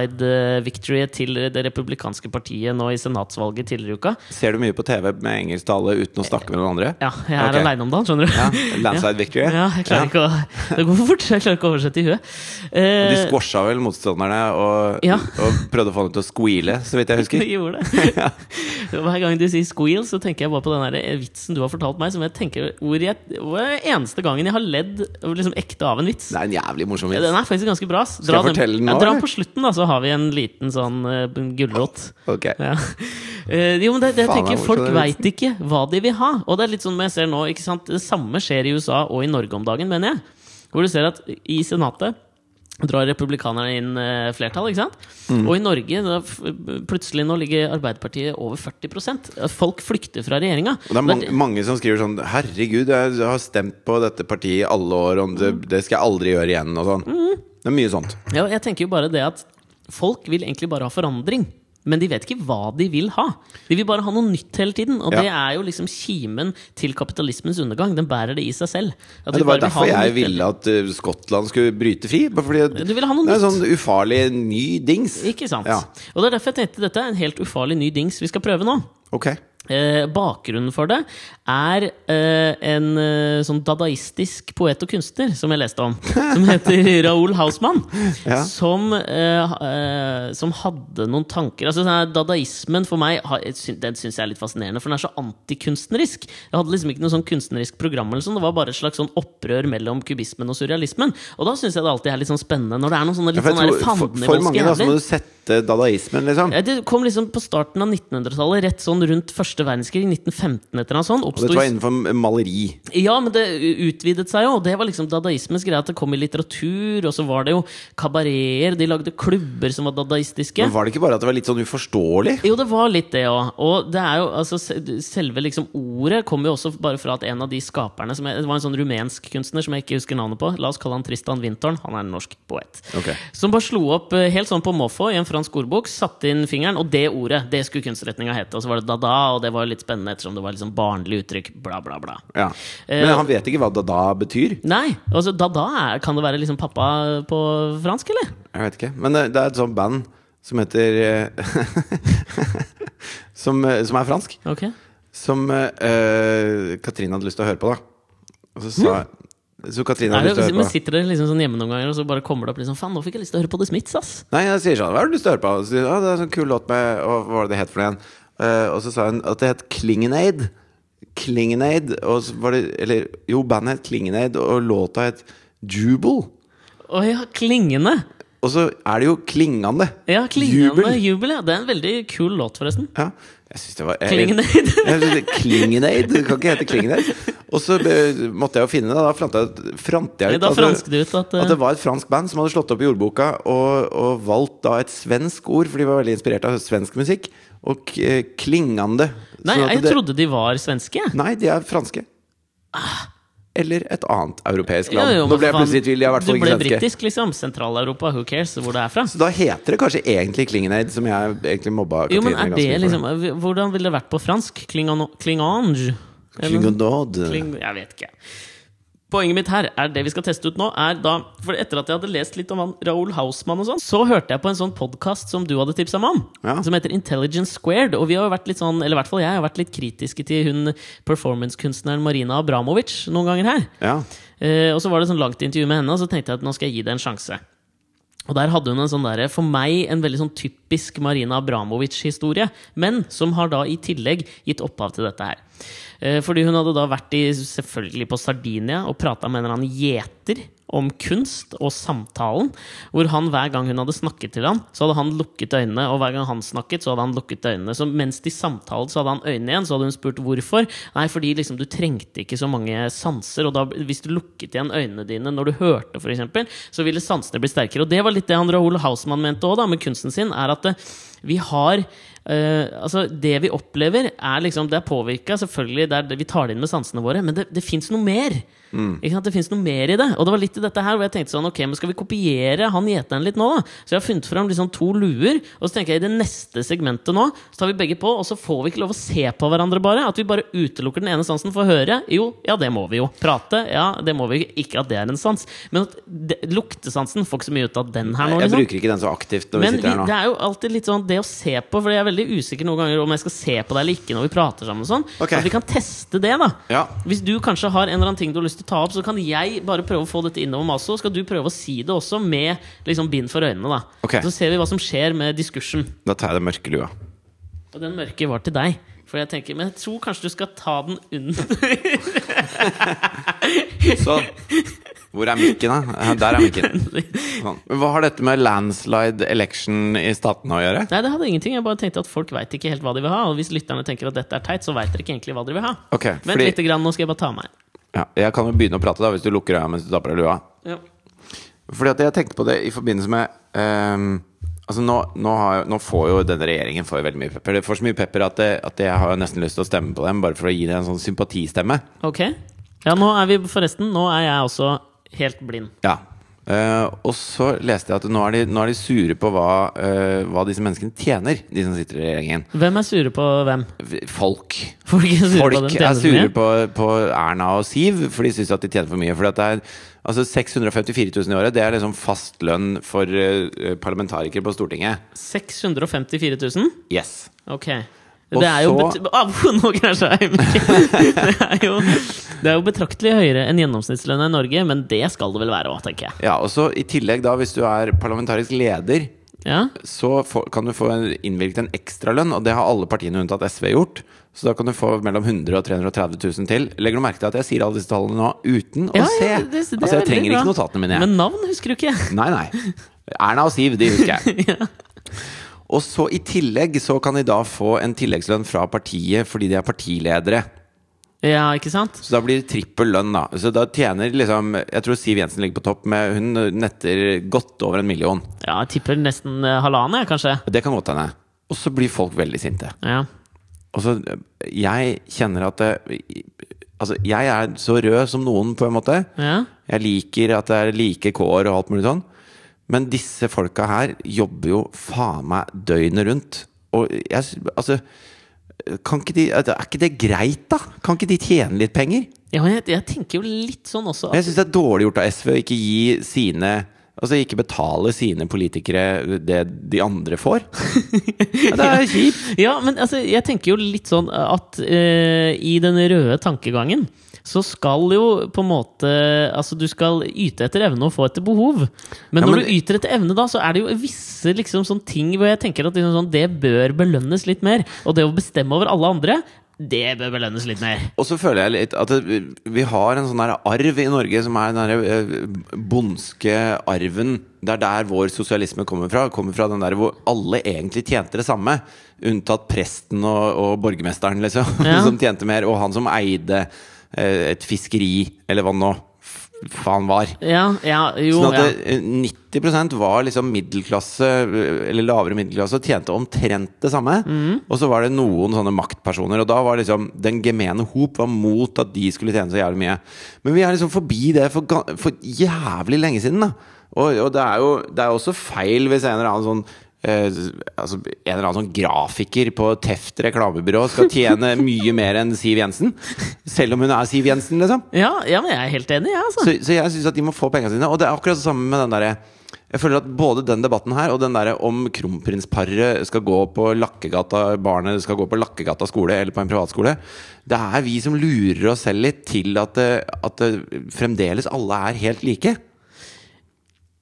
Speaker 2: landslide-victoryet til det republikanske partiet nå i senatsvalget tidligere i uka
Speaker 1: Ser du mye på TV med engelsk tale uten å
Speaker 2: Eh,
Speaker 1: snakke med noen andre?
Speaker 2: Ja, jeg er
Speaker 1: Ok.
Speaker 2: alene om dagen, skjønner du.
Speaker 1: Ja, landslide victory.
Speaker 2: Ja, jeg klarer ikke å Det går for fort. så Jeg klarer ikke å oversette i huet. Eh,
Speaker 1: De squasha vel motstanderne og,
Speaker 2: Ja.
Speaker 1: og prøvde å få dem til å squeale, så vidt jeg husker.
Speaker 2: De gjorde det. Hver gang du sier 'squeal', så tenker jeg bare på den der eh, vitsen du har fortalt meg. Som jeg tenker hvor jeg, hvor er Eneste gangen jeg har ledd liksom ekte av en vits.
Speaker 1: Det er en jævlig morsom
Speaker 2: Den
Speaker 1: vits.
Speaker 2: er faktisk ganske bra. ass.
Speaker 1: Skal jeg fortelle den
Speaker 2: ja,
Speaker 1: nå,
Speaker 2: dra
Speaker 1: eller?
Speaker 2: på slutten, da, så har vi en liten sånn uh, gulrot.
Speaker 1: Ok.
Speaker 2: Ja. Eh, jo, men det, det jeg
Speaker 1: Faen, det er
Speaker 2: tenker Folk
Speaker 1: morsomt,
Speaker 2: veit ikke hva de vil ha. Og det er litt sånn som jeg ser nå ikke sant? Det samme skjer i USA og i Norge om dagen, mener jeg. Hvor du ser at i Senatet drar republikanerne inn eh, flertall. ikke sant?
Speaker 1: Mm.
Speaker 2: Og i Norge da, f- plutselig nå ligger Arbeiderpartiet over 40 Folk flykter fra regjeringa.
Speaker 1: Og det er mange, mange som skriver sånn Herregud, jeg har stemt på dette partiet i alle år, og det,
Speaker 2: Mm.
Speaker 1: det skal jeg aldri gjøre igjen. Og sånn. Det er mye sånt.
Speaker 2: Ja, jeg tenker jo bare det at folk vil egentlig bare ha forandring. Men de vet ikke hva de vil ha. De vil bare ha noe nytt hele tiden. Og
Speaker 1: Ja.
Speaker 2: det er jo liksom kimen til kapitalismens undergang. Den bærer det i seg selv. At
Speaker 1: Ja,
Speaker 2: vi
Speaker 1: det var
Speaker 2: bare vil ha
Speaker 1: derfor
Speaker 2: noe
Speaker 1: jeg
Speaker 2: nytt hele-
Speaker 1: ville at eh, Skottland skulle bryte fri. bare Fordi at
Speaker 2: Du ville ha noe
Speaker 1: det er
Speaker 2: nytt.
Speaker 1: en sånn ufarlig ny dings.
Speaker 2: Ikke sant?
Speaker 1: Ja.
Speaker 2: Og det er derfor jeg tenkte dette er en helt ufarlig ny dings vi skal prøve nå.
Speaker 1: Ok.
Speaker 2: Eh, bakgrunnen for det er eh, en eh, sånn dadaistisk poet og kunstner som jeg leste om, som heter Raoul Hausmann.
Speaker 1: Ja.
Speaker 2: Som, eh, ha- eh, som hadde noen tanker Altså sånn her, Dadaismen for meg har, jeg syn- Den syns jeg er litt fascinerende, for den er så antikunstnerisk. Jeg hadde liksom ikke noe sånn kunstnerisk program, eller sånn, det var bare et slags sånn opprør mellom kubismen og surrealismen. Og da syns jeg det alltid er litt sånn spennende når det er noen sånne
Speaker 1: Ja,
Speaker 2: litt
Speaker 1: for, jeg
Speaker 2: sånne
Speaker 1: tror, for, for mange da, så må du
Speaker 2: fandenivoldske
Speaker 1: sette etter dadaismen, liksom.
Speaker 2: Ja, Det kom liksom på starten av 1900-tallet, rett sånn rundt første verdenskrig. 1915 etter noe sånt.
Speaker 1: Og dette var
Speaker 2: Oppstod,
Speaker 1: innenfor maleri.
Speaker 2: ja, men det utvidet seg jo, og det var liksom dadaismens greie. At det kom i litteratur, og så var det jo kabareter. De lagde klubber som var dadaistiske.
Speaker 1: Men var det ikke bare at det var litt sånn uforståelig?
Speaker 2: Jo, det var litt det òg. Og det er jo, altså, se- selve liksom ordet kommer jo også bare fra at en av de skaperne som jeg, Det var en sånn rumensk kunstner som jeg ikke husker navnet på. La oss kalle han Tristan Wintern. Han er en norsk poet.
Speaker 1: Ok.
Speaker 2: Som bare slo opp eh, helt sånn på måfå i en fransk ordbok, satte inn fingeren, og det ordet det skulle kunstretninga hete. Og så var det da-da, og det var litt spennende ettersom det var liksom barnlig uttrykk. Bla, bla, bla. Eh,
Speaker 1: Ja. Men han vet ikke hva dada betyr.
Speaker 2: Nei, altså da-da er- kan det være liksom pappa på fransk, eller?
Speaker 1: Jeg vet ikke. Men det, det er et sånt band som heter eh, som, eh, som er fransk.
Speaker 2: Ok.
Speaker 1: Som eh, Katrine hadde lyst til å høre på, da. Og så sa Så Katrine
Speaker 2: Er det,
Speaker 1: hadde lyst til å
Speaker 2: men
Speaker 1: høre på.
Speaker 2: sitter dere liksom sånn hjemme noen ganger, og så bare kommer det opp liksom Faen, nå fikk jeg lyst til å høre på The Smiths, ass.
Speaker 1: Nei, jeg sier sånn Hva har du lyst til å høre på? Og Så sier hun, «Å, det er en sånn kul låt med og, Hva var det det het for noe igjen? Eh, og så sa hun at det het Klingenade. Klingenade. Og så var det Eller jo, bandet het Klingenade, og låta het Jubel.
Speaker 2: Å ja, klingende.
Speaker 1: Og så er det jo klingende.
Speaker 2: Ja, klingende jubel.
Speaker 1: Jubel.
Speaker 2: ja. Det er en veldig kul låt, forresten.
Speaker 1: Ja. Jeg syns det var jeg-
Speaker 2: Klingenade.
Speaker 1: Jeg synes det- Klingenade. Det kan ikke hete Klingenade. Og så eh, måtte jeg jo finne det. Da fant jeg, ut- frant jeg ut
Speaker 2: Da
Speaker 1: at det-
Speaker 2: franskte du ut at, eh,
Speaker 1: at det var et fransk band som hadde slått opp i ordboka og, og valgt da et svensk ord, for de var veldig inspirert av svensk musikk. Og k- eh, klingende.
Speaker 2: eh, Nei,
Speaker 1: Sånn at
Speaker 2: jeg
Speaker 1: det-
Speaker 2: trodde de var svenske. jeg.
Speaker 1: Nei, de er franske. Eller et annet europeisk
Speaker 2: Jo,
Speaker 1: land.
Speaker 2: Ah. jo,
Speaker 1: Nå
Speaker 2: men
Speaker 1: ble jeg
Speaker 2: faen,
Speaker 1: plutselig i tvil. De er i hvert fall
Speaker 2: Du ble
Speaker 1: ikke svenske.
Speaker 2: britisk, liksom. Sentral-Europa, who cares hvor det er fra?
Speaker 1: Så da heter det kanskje egentlig Klingenade, som jeg egentlig mobba
Speaker 2: Jo, men er
Speaker 1: Katrine ganske mye
Speaker 2: det
Speaker 1: for.
Speaker 2: liksom Hvordan ville det vært på fransk? Klingano- Klingange? Eller-
Speaker 1: Klingenade.
Speaker 2: Kling, jeg vet ikke. Poenget mitt her er det vi skal teste ut nå, er da For etter at jeg hadde lest litt om han Raoul Hausmann og sånn, så hørte jeg på en sånn podkast som du hadde tipsa meg om,
Speaker 1: Ja.
Speaker 2: som heter Intelligence Squared. Og vi har jo vært litt sånn, eller i hvert fall jeg har vært litt kritiske til hun performancekunstneren Marina Abramovic noen ganger her.
Speaker 1: Ja.
Speaker 2: Eh, og så var det sånn langt intervju med henne, og så tenkte jeg at nå skal jeg gi det en sjanse. Og der hadde hun en sånn derre, for meg, en veldig sånn typisk Marina Abramovic-historie. Men som har da i tillegg gitt opphav til dette her. Eh, Fordi hun hadde da vært i, selvfølgelig på Sardinia og prata med en eller annen gjeter om kunst og samtalen. Hvor han hver gang hun hadde snakket til ham, så hadde han lukket øynene. Og hver gang han snakket, så hadde han lukket øynene. Så mens de samtalet, så hadde han øynene igjen. Så hadde hun spurt hvorfor. Nei, fordi liksom du trengte ikke så mange sanser. Og da, hvis du lukket igjen øynene dine når du hørte, f.eks., så ville sansene bli sterkere. Og det var litt det han Raoul Hausmann mente òg, med kunsten sin. er at eh, vi har eh, altså Det vi opplever, er liksom, det er påvirka. Selvfølgelig, det er, det- vi tar det inn med sansene våre, men det, det fins noe mer.
Speaker 1: Mm.
Speaker 2: Ikke sant? Det finnes noe mer i det. Og det var litt i dette her hvor jeg tenkte sånn, ok, men skal vi kopiere han gjeteren litt nå, da? Så jeg har funnet fram liksom to luer, og så tenker jeg i det neste segmentet nå, så tar vi begge på, og så får vi ikke lov å se på hverandre, bare. At vi bare utelukker den ene sansen for å høre. Jo, ja, det må vi jo. Prate, ja, det må vi. Ikke at det er en sans, men at det, luktesansen får ikke så mye ut av den her nå,
Speaker 1: Jeg
Speaker 2: liksom.
Speaker 1: bruker ikke den så aktivt når
Speaker 2: Men
Speaker 1: vi
Speaker 2: vi,
Speaker 1: sitter her nå.
Speaker 2: det er jo alltid litt sånn det å se på, for jeg er veldig usikker noen ganger om jeg skal se på deg eller ikke når vi prater sammen og sånn.
Speaker 1: Ok.
Speaker 2: At vi kan teste det, da.
Speaker 1: Ja.
Speaker 2: Hvis du kanskje har en eller annen ting du har lyst til å ta opp, så kan jeg bare prøve å få dette innover meg også. Skal du prøve å si det også med liksom bind for øynene, da.
Speaker 1: Ok.
Speaker 2: Så ser vi hva som skjer med diskursen.
Speaker 1: Da tar jeg den mørke lua.
Speaker 2: Og den mørke var til deg. For jeg tenker, Men jeg tror kanskje du skal ta den under
Speaker 1: Sånn. Hvor er mikken, da? Ja, Der er mikken. Sånn. Men Hva har dette med landslide election i statene å gjøre?
Speaker 2: Nei, det hadde ingenting. Jeg bare tenkte at folk veit ikke helt hva de vil ha. Og hvis lytterne tenker at dette er teit, så veit dere ikke egentlig hva dere vil ha.
Speaker 1: Ok,
Speaker 2: Vent
Speaker 1: fordi-
Speaker 2: lite grann, nå skal jeg bare ta meg
Speaker 1: Ja, jeg kan jo begynne å prate da hvis du lukker øya mens du tapper deg lua.
Speaker 2: ja.
Speaker 1: Fordi at jeg tenkte på det i forbindelse med ehm, Altså nå, nå, har, jo- nå får jo denne regjeringen får jo veldig mye pepper. Det får så mye pepper at, det, at jeg har jo nesten lyst til å stemme på dem, bare for å gi det en sånn sympatistemme.
Speaker 2: Ok. Ja, nå er vi forresten Nå er jeg også helt blind.
Speaker 1: Ja. Eh, og så leste jeg at nå er de, nå er de sure på hva, eh, hva disse menneskene tjener, de som sitter i regjeringen.
Speaker 2: Hvem er sure på hvem?
Speaker 1: Folk.
Speaker 2: Folk er sure på,
Speaker 1: Folk
Speaker 2: den
Speaker 1: er
Speaker 2: tjenesten
Speaker 1: sure
Speaker 2: min.
Speaker 1: på, på Erna og Siv, for de syns at de tjener for mye. For det er altså 654 000 i året, det er liksom fast lønn for eh, parlamentarikere på Stortinget.
Speaker 2: 654 000?
Speaker 1: Yes.
Speaker 2: Ok.
Speaker 1: Og
Speaker 2: det er jo
Speaker 1: så-
Speaker 2: bet Au, Nå krasja jeg! i mikken. Det er jo, det er jo betraktelig høyere enn gjennomsnittslønna i Norge, men det skal det vel være òg, tenker jeg.
Speaker 1: Ja, og så I tillegg, da, hvis du er parlamentarisk leder,
Speaker 2: Ja?
Speaker 1: så få, kan du få en- innvilget en ekstralønn, og det har alle partiene unntatt SV gjort. Så da kan du få mellom 100 og 330 000 til. Legger du merke til at jeg sier alle disse tallene nå uten å
Speaker 2: Ja,
Speaker 1: se?
Speaker 2: ja, det- det er
Speaker 1: altså, jeg
Speaker 2: veldig
Speaker 1: trenger
Speaker 2: bra.
Speaker 1: ikke notatene mine. jeg.
Speaker 2: Men navn husker du ikke?
Speaker 1: Nei, nei. Erna og Siv, de husker jeg. Og så i tillegg så kan de da få en tilleggslønn fra partiet fordi de er partiledere.
Speaker 2: Ja, ikke sant?
Speaker 1: Så da blir det trippel lønn, da. Så da tjener liksom Jeg tror Siv Jensen ligger på topp med Hun netter godt over en million.
Speaker 2: Ja, jeg tipper nesten eh, halvannen, jeg, kanskje.
Speaker 1: Det kan godt hende. Og så blir folk veldig sinte.
Speaker 2: Ja.
Speaker 1: Og så Jeg kjenner at det, Altså, jeg er så rød som noen, på en måte.
Speaker 2: ja.
Speaker 1: Jeg liker at det er like kår og alt mulig sånn. Men disse folka her jobber jo faen meg døgnet rundt. Og jeg s- Altså kan ikke de, altså, Er ikke det greit, da? Kan ikke de tjene litt penger?
Speaker 2: Ja, men jeg, jeg tenker jo litt sånn også.
Speaker 1: Men
Speaker 2: At,
Speaker 1: jeg syns det er dårlig gjort av SV å ikke gi sine Altså ikke betale sine politikere det de andre får. Ja, det er kjipt.
Speaker 2: ja, men altså, jeg tenker jo litt sånn at eh, i den røde tankegangen så skal jo på en måte Altså, du skal yte etter evne og få etter behov. Men
Speaker 1: Ja,
Speaker 2: når
Speaker 1: men-
Speaker 2: du yter etter evne, da, så er det jo visse liksom, sånn ting hvor jeg tenker at liksom, sånn, det bør belønnes litt mer. Og det å bestemme over alle andre, det bør belønnes litt mer.
Speaker 1: Og så føler jeg litt at det- vi har en sånn der arv i Norge som er den derre eh, bondske arven. Det er der vår sosialisme kommer fra. Kommer fra den der hvor alle egentlig tjente det samme. Unntatt presten og, og borgermesteren, liksom.
Speaker 2: Ja.
Speaker 1: Som tjente mer. Og han som eide eh, et fiskeri, eller hva nå f- faen var.
Speaker 2: Ja, ja, jo,
Speaker 1: Sånn
Speaker 2: ja.
Speaker 1: at det, eh, 90 var liksom middelklasse, eh, eller lavere middelklasse, og tjente omtrent det samme.
Speaker 2: Mhm.
Speaker 1: Og så var det noen sånne maktpersoner, og da var liksom den gemene hop var mot at de skulle tjene så jævlig mye. Men vi er liksom forbi det for, ga- for jævlig lenge siden, da. Og, og det er jo det er jo også feil hvis en eller annen sånn eh, altså En eller annen sånn grafiker på Teft reklamebyrå skal tjene mye mer enn Siv Jensen. Selv om hun er Siv Jensen, liksom.
Speaker 2: Ja, ja, men jeg er helt enig, jeg, ja, altså.
Speaker 1: Så, så jeg syns at de må få pengene sine. Og det er akkurat det samme med den derre Jeg føler at både den debatten her og den derre om kronprinsparet skal gå på Lakkegata barnet skal gå på Lakkegata skole eller på en privatskole Det er vi som lurer oss selv litt til at, det, at det fremdeles alle er helt like.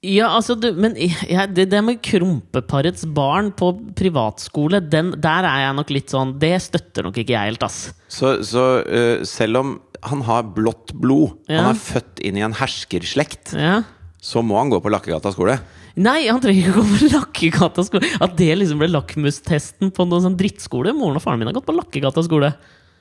Speaker 2: Ja, altså, du, men jeg, det, det med krompeparets barn på privatskole, den, der er jeg nok litt sånn Det støtter nok ikke jeg helt, ass.
Speaker 1: Så, så eh, selv om han har blått blod,
Speaker 2: Ja.
Speaker 1: han er født inn i en herskerslekt,
Speaker 2: Ja.
Speaker 1: så må han gå på Lakkegata skole.
Speaker 2: Nei, han trenger ikke gå på Lakkegata skole. At det liksom ble lakmustesten på noen sånn drittskole? Moren og faren min har gått på Lakkegata skole.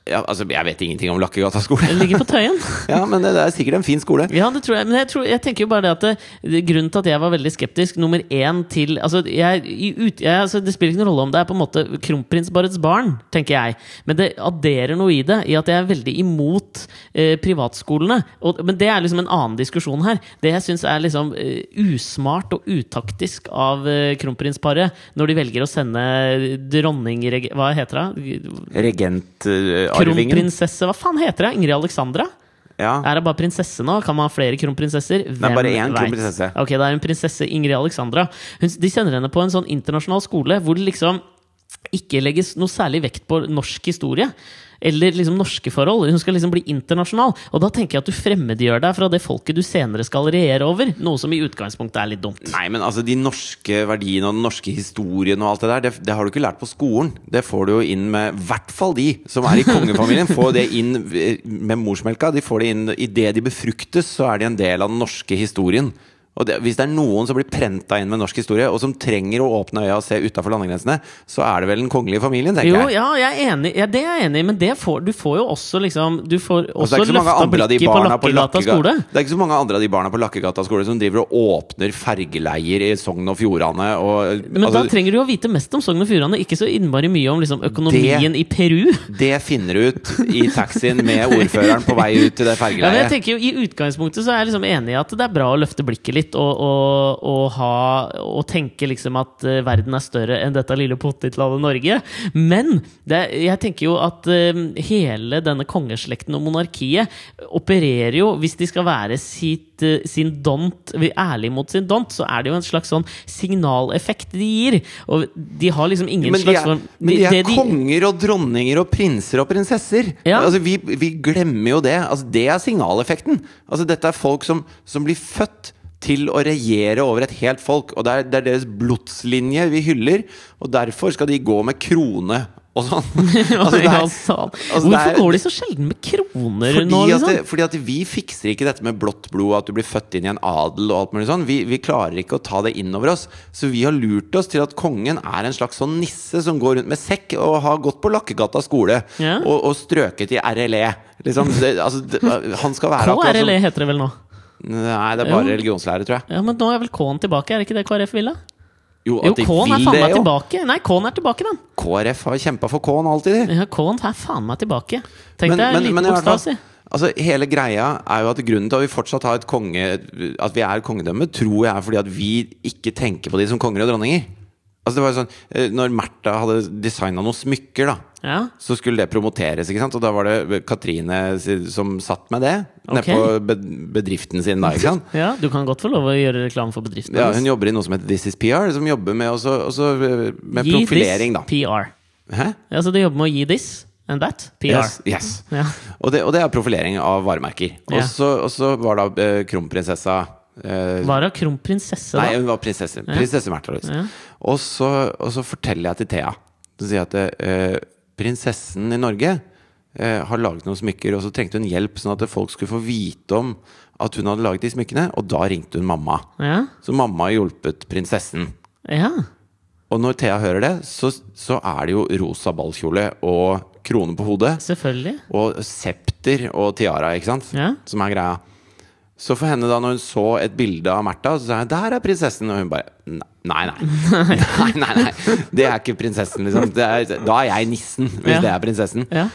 Speaker 1: Ja, altså, jeg vet ingenting om Lakkegata skole.
Speaker 2: Den ligger på Tøyen.
Speaker 1: Ja, men det, det er sikkert en fin skole.
Speaker 2: Ja, det tror jeg. Men jeg, tror, jeg tenker jo bare det at det, det- grunnen til at jeg var veldig skeptisk Nummer én til Altså, jeg, i ut, jeg, altså det spiller ikke noen rolle om det er på en måte kronprinsparets barn, tenker jeg. Men det adderer noe i det, i at jeg er veldig imot eh, privatskolene. Og, men det er liksom en annen diskusjon her. Det jeg syns er liksom eh, usmart og utaktisk av eh, kronprinsparet når de velger å sende dronning... Hva heter hun?
Speaker 1: eh, Regentarvingen.
Speaker 2: Kronprinsesse Hva faen heter hun? Ingrid Alexandra?
Speaker 1: ja.
Speaker 2: Er det bare prinsesse nå? Kan man ha flere kronprinsesser? Hvem
Speaker 1: bare én
Speaker 2: vet?
Speaker 1: kronprinsesse.
Speaker 2: Ok, det er en prinsesse Ingrid Alexandra. Hun, de sender henne på en sånn internasjonal skole hvor det liksom ikke legges noe særlig vekt på norsk historie. Eller liksom norske forhold. Hun skal liksom bli internasjonal. Og da tenker jeg at du fremmedgjør deg fra det folket du senere skal regjere over. Noe som i utgangspunktet er litt dumt.
Speaker 1: Nei, men altså de norske verdiene og den norske historien og alt det der, det, det har du ikke lært på skolen. Det får du jo inn med i hvert fall de som er i kongefamilien. Får det inn eh, med morsmelka. De får det inn idet de befruktes, så er de en del av den norske historien. Og det, Hvis det er noen som blir prenta inn med norsk historie, og som trenger å åpne øya og se utafor landegrensene, så er det vel den kongelige familien, tenker
Speaker 2: Jo,
Speaker 1: jeg.
Speaker 2: ja, jeg er enig. Ja, det er jeg enig i, men det får, du får jo også liksom Du får også
Speaker 1: Altså, det er ikke så mange
Speaker 2: løfta
Speaker 1: andre av de
Speaker 2: blikket på
Speaker 1: barna på
Speaker 2: Lakkegata
Speaker 1: Lakkega-
Speaker 2: skole.
Speaker 1: Det er ikke så mange andre av de barna på Lakkegata skole som driver og åpner fergeleier i Sogn og Fjordane og
Speaker 2: Men
Speaker 1: altså,
Speaker 2: da trenger du jo vite mest om Sogn og Fjordane, ikke så innmari mye om liksom, økonomien i Peru.
Speaker 1: Det finner du ut i taxien med ordføreren på vei ut til det
Speaker 2: Ja, men jeg
Speaker 1: fergeleiet.
Speaker 2: tenker jo I utgangspunktet så er jeg liksom enig i at det er bra å løfte blikket litt og, og, og, ha, og tenke liksom at eh, verden er større enn dette lille potetlandet Norge. Men det, er- jeg tenker jo at eh, hele denne kongeslekten og monarkiet opererer jo, hvis de skal være sitt, eh, sin dont, ærlig mot sin dont, så er det jo en slags sånn signaleffekt de gir. Og de har liksom ingen
Speaker 1: Men de
Speaker 2: slags
Speaker 1: er,
Speaker 2: sånn-
Speaker 1: men de er
Speaker 2: det
Speaker 1: konger og dronninger og prinser og prinsesser.
Speaker 2: Ja.
Speaker 1: Altså, vi, vi glemmer jo det. Altså, det er signaleffekten. Altså, dette er folk som, som blir født til å regjere over et helt folk. Og det er, det er deres blodslinje vi hyller, og derfor skal de gå med krone og sånn. Altså, det
Speaker 2: Ja,
Speaker 1: er,
Speaker 2: sant.
Speaker 1: altså, det
Speaker 2: Hvorfor
Speaker 1: er-
Speaker 2: går de så sjelden med kroner
Speaker 1: fordi,
Speaker 2: nå,
Speaker 1: at
Speaker 2: liksom?
Speaker 1: det, fordi at vi fikser ikke dette med blått blod og at du blir født inn i en adel og alt mulig sånn. Vi, vi klarer ikke å ta det inn over oss. Så vi har lurt oss til at kongen er en slags sånn nisse som går rundt med sekk og har gått på Lakkegata skole
Speaker 2: Ja.
Speaker 1: og, og strøket i RLE. Liksom, det, altså, det, han skal være akkurat som-
Speaker 2: KRLE heter det vel nå?
Speaker 1: Nei, det er bare religionslære, tror jeg.
Speaker 2: E. Ja, Men nå er vel K-en tilbake, er det ikke det KrF ville? Jo,
Speaker 1: at de
Speaker 2: K-en er
Speaker 1: vil
Speaker 2: faen
Speaker 1: det,
Speaker 2: meg
Speaker 1: jo.
Speaker 2: tilbake. Nei, K-en er tilbake, den.
Speaker 1: KrF har kjempa for K-en alltid, de.
Speaker 2: Ja, K-en er faen meg tilbake. Tenk deg en liten
Speaker 1: i hvert fall-
Speaker 2: bokstav, si.
Speaker 1: altså, hele greia er jo at grunnen til at vi fortsatt har et konge At vi er et kongedømme, tror jeg er fordi at vi ikke tenker på de som konger og dronninger. Altså det var jo sånn eh, Når Märtha hadde designa noen smykker, da
Speaker 2: Ja.
Speaker 1: så skulle det promoteres, ikke sant? og da var det Katrine si- som satt med det.
Speaker 2: Ok.
Speaker 1: Nede på bed- bedriften sin da, ikke sant.
Speaker 2: ja, du kan godt få lov å gjøre reklame for bedriften.
Speaker 1: Ja,
Speaker 2: hennes.
Speaker 1: hun jobber i noe som heter This Is PR, som jobber med, også, også eh, med
Speaker 2: Gi
Speaker 1: profilering, da.
Speaker 2: this PR.
Speaker 1: Hæ?
Speaker 2: Ja, så de jobber med å gi this and that. PR.
Speaker 1: Yes, yes.
Speaker 2: Ja.
Speaker 1: Og, det, og det er profilering av varemerker. Og
Speaker 2: Ja.
Speaker 1: så og så var da eh, kronprinsessa eh,
Speaker 2: Var hun kronprinsesse,
Speaker 1: Nei,
Speaker 2: da?
Speaker 1: hun var prinsesse. Prinsesse Märtha Louise.
Speaker 2: Ja.
Speaker 1: Og, så, og så forteller jeg til Thea. Så sier jeg at eh, prinsessen i Norge eh, har laget noen smykker, og så trengte hun hjelp, sånn at folk skulle få vite om at hun hadde laget de smykkene. Og da ringte hun mamma.
Speaker 2: Ja.
Speaker 1: Så mamma har hjulpet prinsessen.
Speaker 2: ja.
Speaker 1: Og når Thea hører det, så, så er det jo rosa ballkjole og krone på hodet.
Speaker 2: Selvfølgelig.
Speaker 1: Og septer og tiara, ikke sant?
Speaker 2: Ja.
Speaker 1: Som er greia. Så for henne, da, når hun så et bilde av Märtha, så sa jeg 'der er prinsessen'. Og hun bare "Ne- Nei, nei. nei, nei, nei. Det er ikke prinsessen, liksom. Det er, da er jeg nissen, hvis
Speaker 2: Ja.
Speaker 1: det er prinsessen.
Speaker 2: Ja.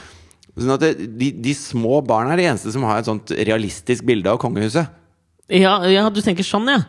Speaker 1: Sånn at det, de, de små barna er de eneste som har et sånt realistisk bilde av kongehuset.
Speaker 2: Ja, ja, du tenker sånn, ja.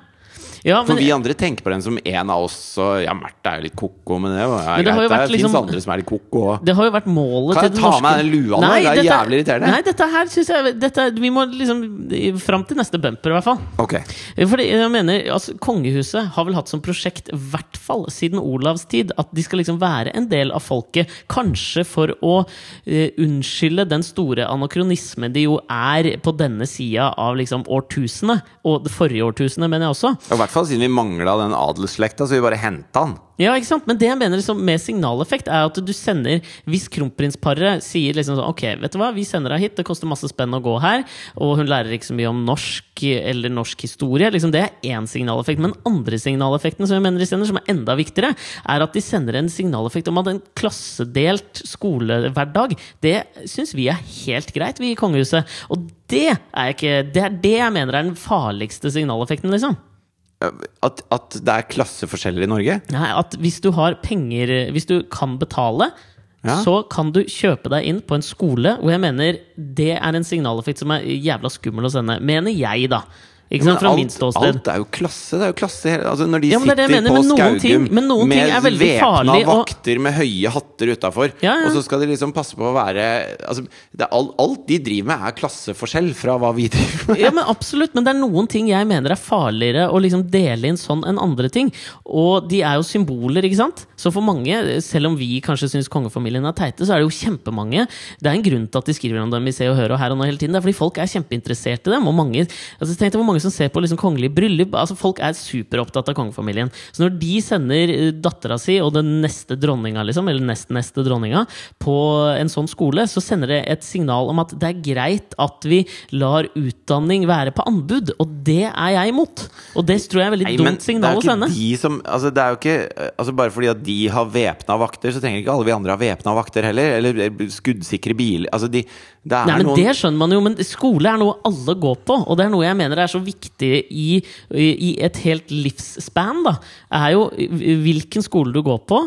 Speaker 2: ja
Speaker 1: For
Speaker 2: men,
Speaker 1: vi andre tenker på den som en av oss, og ja, Märtha er jo litt ko-ko, men det, er jo- ja,
Speaker 2: Men det har jo
Speaker 1: greit,
Speaker 2: vært
Speaker 1: det
Speaker 2: liksom-
Speaker 1: fins andre som er litt ko-ko òg.
Speaker 2: Det har jo vært målet til
Speaker 1: Kan jeg
Speaker 2: den
Speaker 1: ta
Speaker 2: norske
Speaker 1: av meg den lua nå?
Speaker 2: Nei,
Speaker 1: Det er
Speaker 2: dette-
Speaker 1: jævlig irriterende.
Speaker 2: Nei, dette her synes jeg dette, Vi må liksom fram til neste bumper, i hvert fall.
Speaker 1: Ok.
Speaker 2: Fordi jeg mener, altså, Kongehuset har vel hatt som prosjekt, i hvert fall siden Olavs tid, at de skal liksom være en del av folket. Kanskje for å eh, unnskylde den store anakronisme de jo er på denne sida av liksom årtusenet. Og det forrige årtusenet, mener jeg også.
Speaker 1: Og I hvert fall siden vi mangla den adelsslekta, så vi bare henta den.
Speaker 2: Ja, ikke sant? Men det jeg mener liksom, med signaleffekt, er at du sender Hvis kronprinsparet sier liksom sånn Ok, vet du hva, vi sender deg hit, det koster masse spenn å gå her, og hun lærer ikke så mye om norsk eller norsk historie. Liksom, det er én signaleffekt. Men den andre signaleffekten som jeg mener de sender, som er enda viktigere, er at de sender en signaleffekt om at en klassedelt skolehverdag, det syns vi er helt greit, vi i kongehuset. Og det er, ikke, det er det jeg mener er den farligste signaleffekten, liksom.
Speaker 1: eh, At, at det er klasseforskjeller i Norge?
Speaker 2: Nei, at hvis du har penger Hvis du kan betale
Speaker 1: Ja.
Speaker 2: Så kan du kjøpe deg inn på en skole Og jeg mener det er en signaleffekt Som er jævla skummel å sende Mener jeg da Ikke sant, fra min
Speaker 1: alt,
Speaker 2: ståsted
Speaker 1: alt er jo klasse. Det er jo klasse hele- altså Når de
Speaker 2: Ja, men det er det
Speaker 1: sitter
Speaker 2: jeg mener,
Speaker 1: på
Speaker 2: men noen
Speaker 1: Skaugum
Speaker 2: ting- men noen ting er
Speaker 1: med
Speaker 2: veldig
Speaker 1: væpna
Speaker 2: farlig, og-
Speaker 1: vakter med høye hatter utafor,
Speaker 2: Ja, ja.
Speaker 1: og så skal de liksom passe på å være altså, det er alt, alt de driver med, er klasseforskjell fra hva vi driver med.
Speaker 2: ja, men absolutt, men det er noen ting jeg mener er farligere å liksom dele inn sånn enn andre ting. Og de er jo symboler, ikke sant? Så for mange, selv om vi kanskje syns kongefamilien er teite, så er det jo kjempemange. Det er en grunn til at de skriver om dem i Se og Hør og her og nå hele tiden. Det er fordi folk er kjempeinteressert i dem. Og mange, altså tenk deg hvor mange som ser på liksom kongelige bryllup. Altså Folk er superopptatt av kongefamilien. Så når de sender eh, dattera si og den neste dronninga, liksom, eller nest neste dronninga, på en sånn skole, så sender det et signal om at det er greit at vi lar utdanning være på anbud, og det er jeg imot. Og det tror jeg er veldig
Speaker 1: Nei, men
Speaker 2: dumt signal å
Speaker 1: det er jo
Speaker 2: sende.
Speaker 1: ikke de som altså, Det er jo ikke altså, Bare fordi at de har væpna vakter, så trenger ikke alle vi andre ha væpna vakter heller. Eller eh, skuddsikre biler. Altså, de, det er
Speaker 2: Nei, men
Speaker 1: noen
Speaker 2: Det skjønner man jo, men skole er noe alle går på. Og det er noe jeg mener er så viktig i, i et helt livsspan. da er jo Hvilken skole du går på,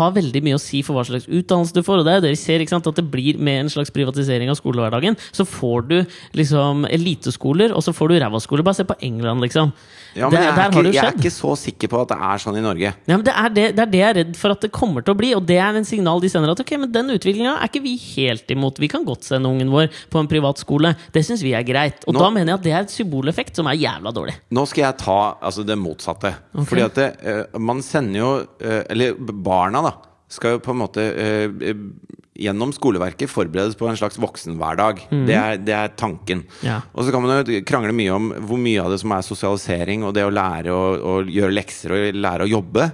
Speaker 2: har veldig mye å si for hva slags utdannelse du får. Og det er jo det vi ser, ikke sant? at det blir med en slags privatisering av skolehverdagen. Så får du liksom eliteskoler, og så får du ræva skoler. Bare se på England, liksom.
Speaker 1: Ja, men
Speaker 2: Der- der
Speaker 1: jeg, er
Speaker 2: har det
Speaker 1: ikke,
Speaker 2: jo
Speaker 1: jeg
Speaker 2: skjedd.
Speaker 1: er ikke så sikker på at det er sånn i Norge.
Speaker 2: Ja, men det, er det, det er det jeg er redd for at det kommer til å bli, og det er en signal de sender at ok, men den utviklinga er ikke vi helt imot. Vi kan godt sende ungen vår på en privat skole. Det syns vi er greit. Og
Speaker 1: Nå-
Speaker 2: da mener jeg at det er et symboleffekt som er jævla dårlig.
Speaker 1: Nå skal jeg ta altså, det motsatte. Fordi at det, eh, man sender jo eh, Eller barna, da. Skal jo på en måte eh, eh, gjennom skoleverket forberedes på en slags voksenhverdag. Det, er, det er tanken.
Speaker 2: Mhm. Ja.
Speaker 1: Og så kan man jo krangle mye om hvor
Speaker 2: Mhm.
Speaker 1: mye av det som er sosialisering og det å lære å, å gjøre lekser og lære å jobbe.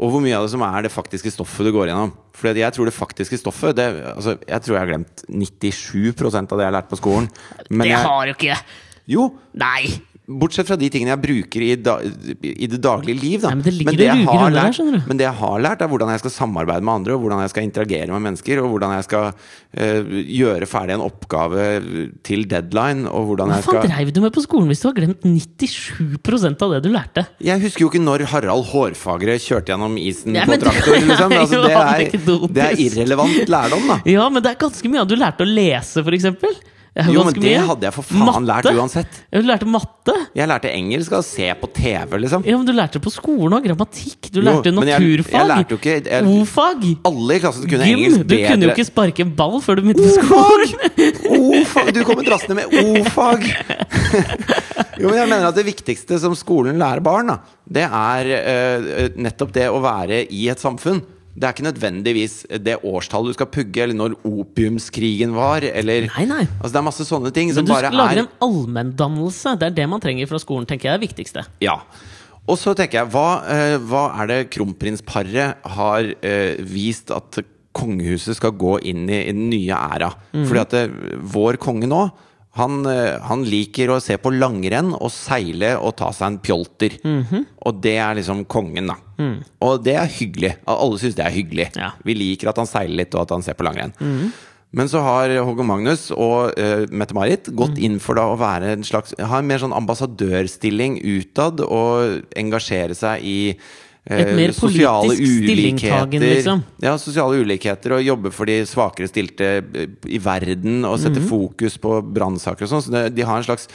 Speaker 1: Og hvor mye av det som er det faktiske stoffet du går gjennom. For jeg tror det faktiske stoffet det, altså, Jeg tror jeg har glemt 97 av det jeg har lært på skolen. Men
Speaker 2: det
Speaker 1: jeg,
Speaker 2: har jo ikke
Speaker 1: jo,
Speaker 2: Nei!
Speaker 1: bortsett fra de tingene jeg bruker i, da, i det daglige liv. Da.
Speaker 2: Nei, men det ligger det
Speaker 1: jeg
Speaker 2: ruger
Speaker 1: har
Speaker 2: under der,
Speaker 1: lært-
Speaker 2: skjønner du.
Speaker 1: men det jeg har lært, er hvordan jeg skal samarbeide med andre, og hvordan jeg skal interagere med mennesker, og hvordan jeg skal eh, gjøre ferdig en oppgave til deadline, og hvordan
Speaker 2: Hva
Speaker 1: jeg
Speaker 2: faen
Speaker 1: skal
Speaker 2: dreiv du med på skolen hvis du har glemt 97 av det du lærte?
Speaker 1: Jeg husker jo ikke når Harald Hårfagre kjørte gjennom isen
Speaker 2: Nei,
Speaker 1: på
Speaker 2: men det
Speaker 1: traktor.
Speaker 2: er
Speaker 1: Liksom.
Speaker 2: jo
Speaker 1: Altså, det, er,
Speaker 2: anekdotisk.
Speaker 1: det er irrelevant lærdom, da.
Speaker 2: Ja, men det er ganske mye. Du lærte å lese, for eksempel. Det er
Speaker 1: Jo, men
Speaker 2: ganske
Speaker 1: det
Speaker 2: mye.
Speaker 1: hadde jeg for faen lært uansett.
Speaker 2: Ja, Du lærte matte.
Speaker 1: Jeg lærte engelsk av å se på TV, liksom.
Speaker 2: Ja, men du lærte det på skolen òg. Grammatikk. Du
Speaker 1: Jo,
Speaker 2: lærte
Speaker 1: men jeg-
Speaker 2: naturfag.
Speaker 1: jeg lærte jo ikke- jeg-
Speaker 2: O-fag.
Speaker 1: Alle i klassen kunne
Speaker 2: Gym.
Speaker 1: engelsk
Speaker 2: Du
Speaker 1: bedre.
Speaker 2: kunne jo ikke sparke en ball før du begynte på skolen.
Speaker 1: O-fag! Du kommer drassende med o-fag! Jo, men jeg mener at Det viktigste som skolen lærer barn, da, det er eh, nettopp det å være i et samfunn. Det er ikke nødvendigvis det årstallet du skal pugge, eller når opiumskrigen var, eller
Speaker 2: Nei, nei.
Speaker 1: Altså, Det er masse sånne ting
Speaker 2: Men
Speaker 1: som
Speaker 2: du
Speaker 1: bare
Speaker 2: lager
Speaker 1: er
Speaker 2: en allmenndannelse. Det er det man trenger fra skolen, tenker jeg er det viktigste.
Speaker 1: Ja. Og så tenker jeg, hva, eh, hva er det kronprinsparet har eh, vist at kongehuset skal gå inn i, i den nye æra? Fordi at eh, vår konge nå, han, eh, han liker å se på langrenn og seile og ta seg en pjolter. Og det er liksom kongen, da. Og det er hyggelig. Alle syns det er hyggelig.
Speaker 2: Ja.
Speaker 1: Vi liker at han seiler litt, og at han ser på langrenn. Men så har Håkon Magnus og eh, Mette-Marit gått inn for da å være en slags, ha en mer sånn ambassadørstilling utad og engasjere seg i eh,
Speaker 2: Et mer politisk stillingtagen, liksom.
Speaker 1: Ja, sosiale ulikheter og jobbe for de svakere stilte eh, i verden og sette fokus på brannsaker og sånn. Så det- de har en slags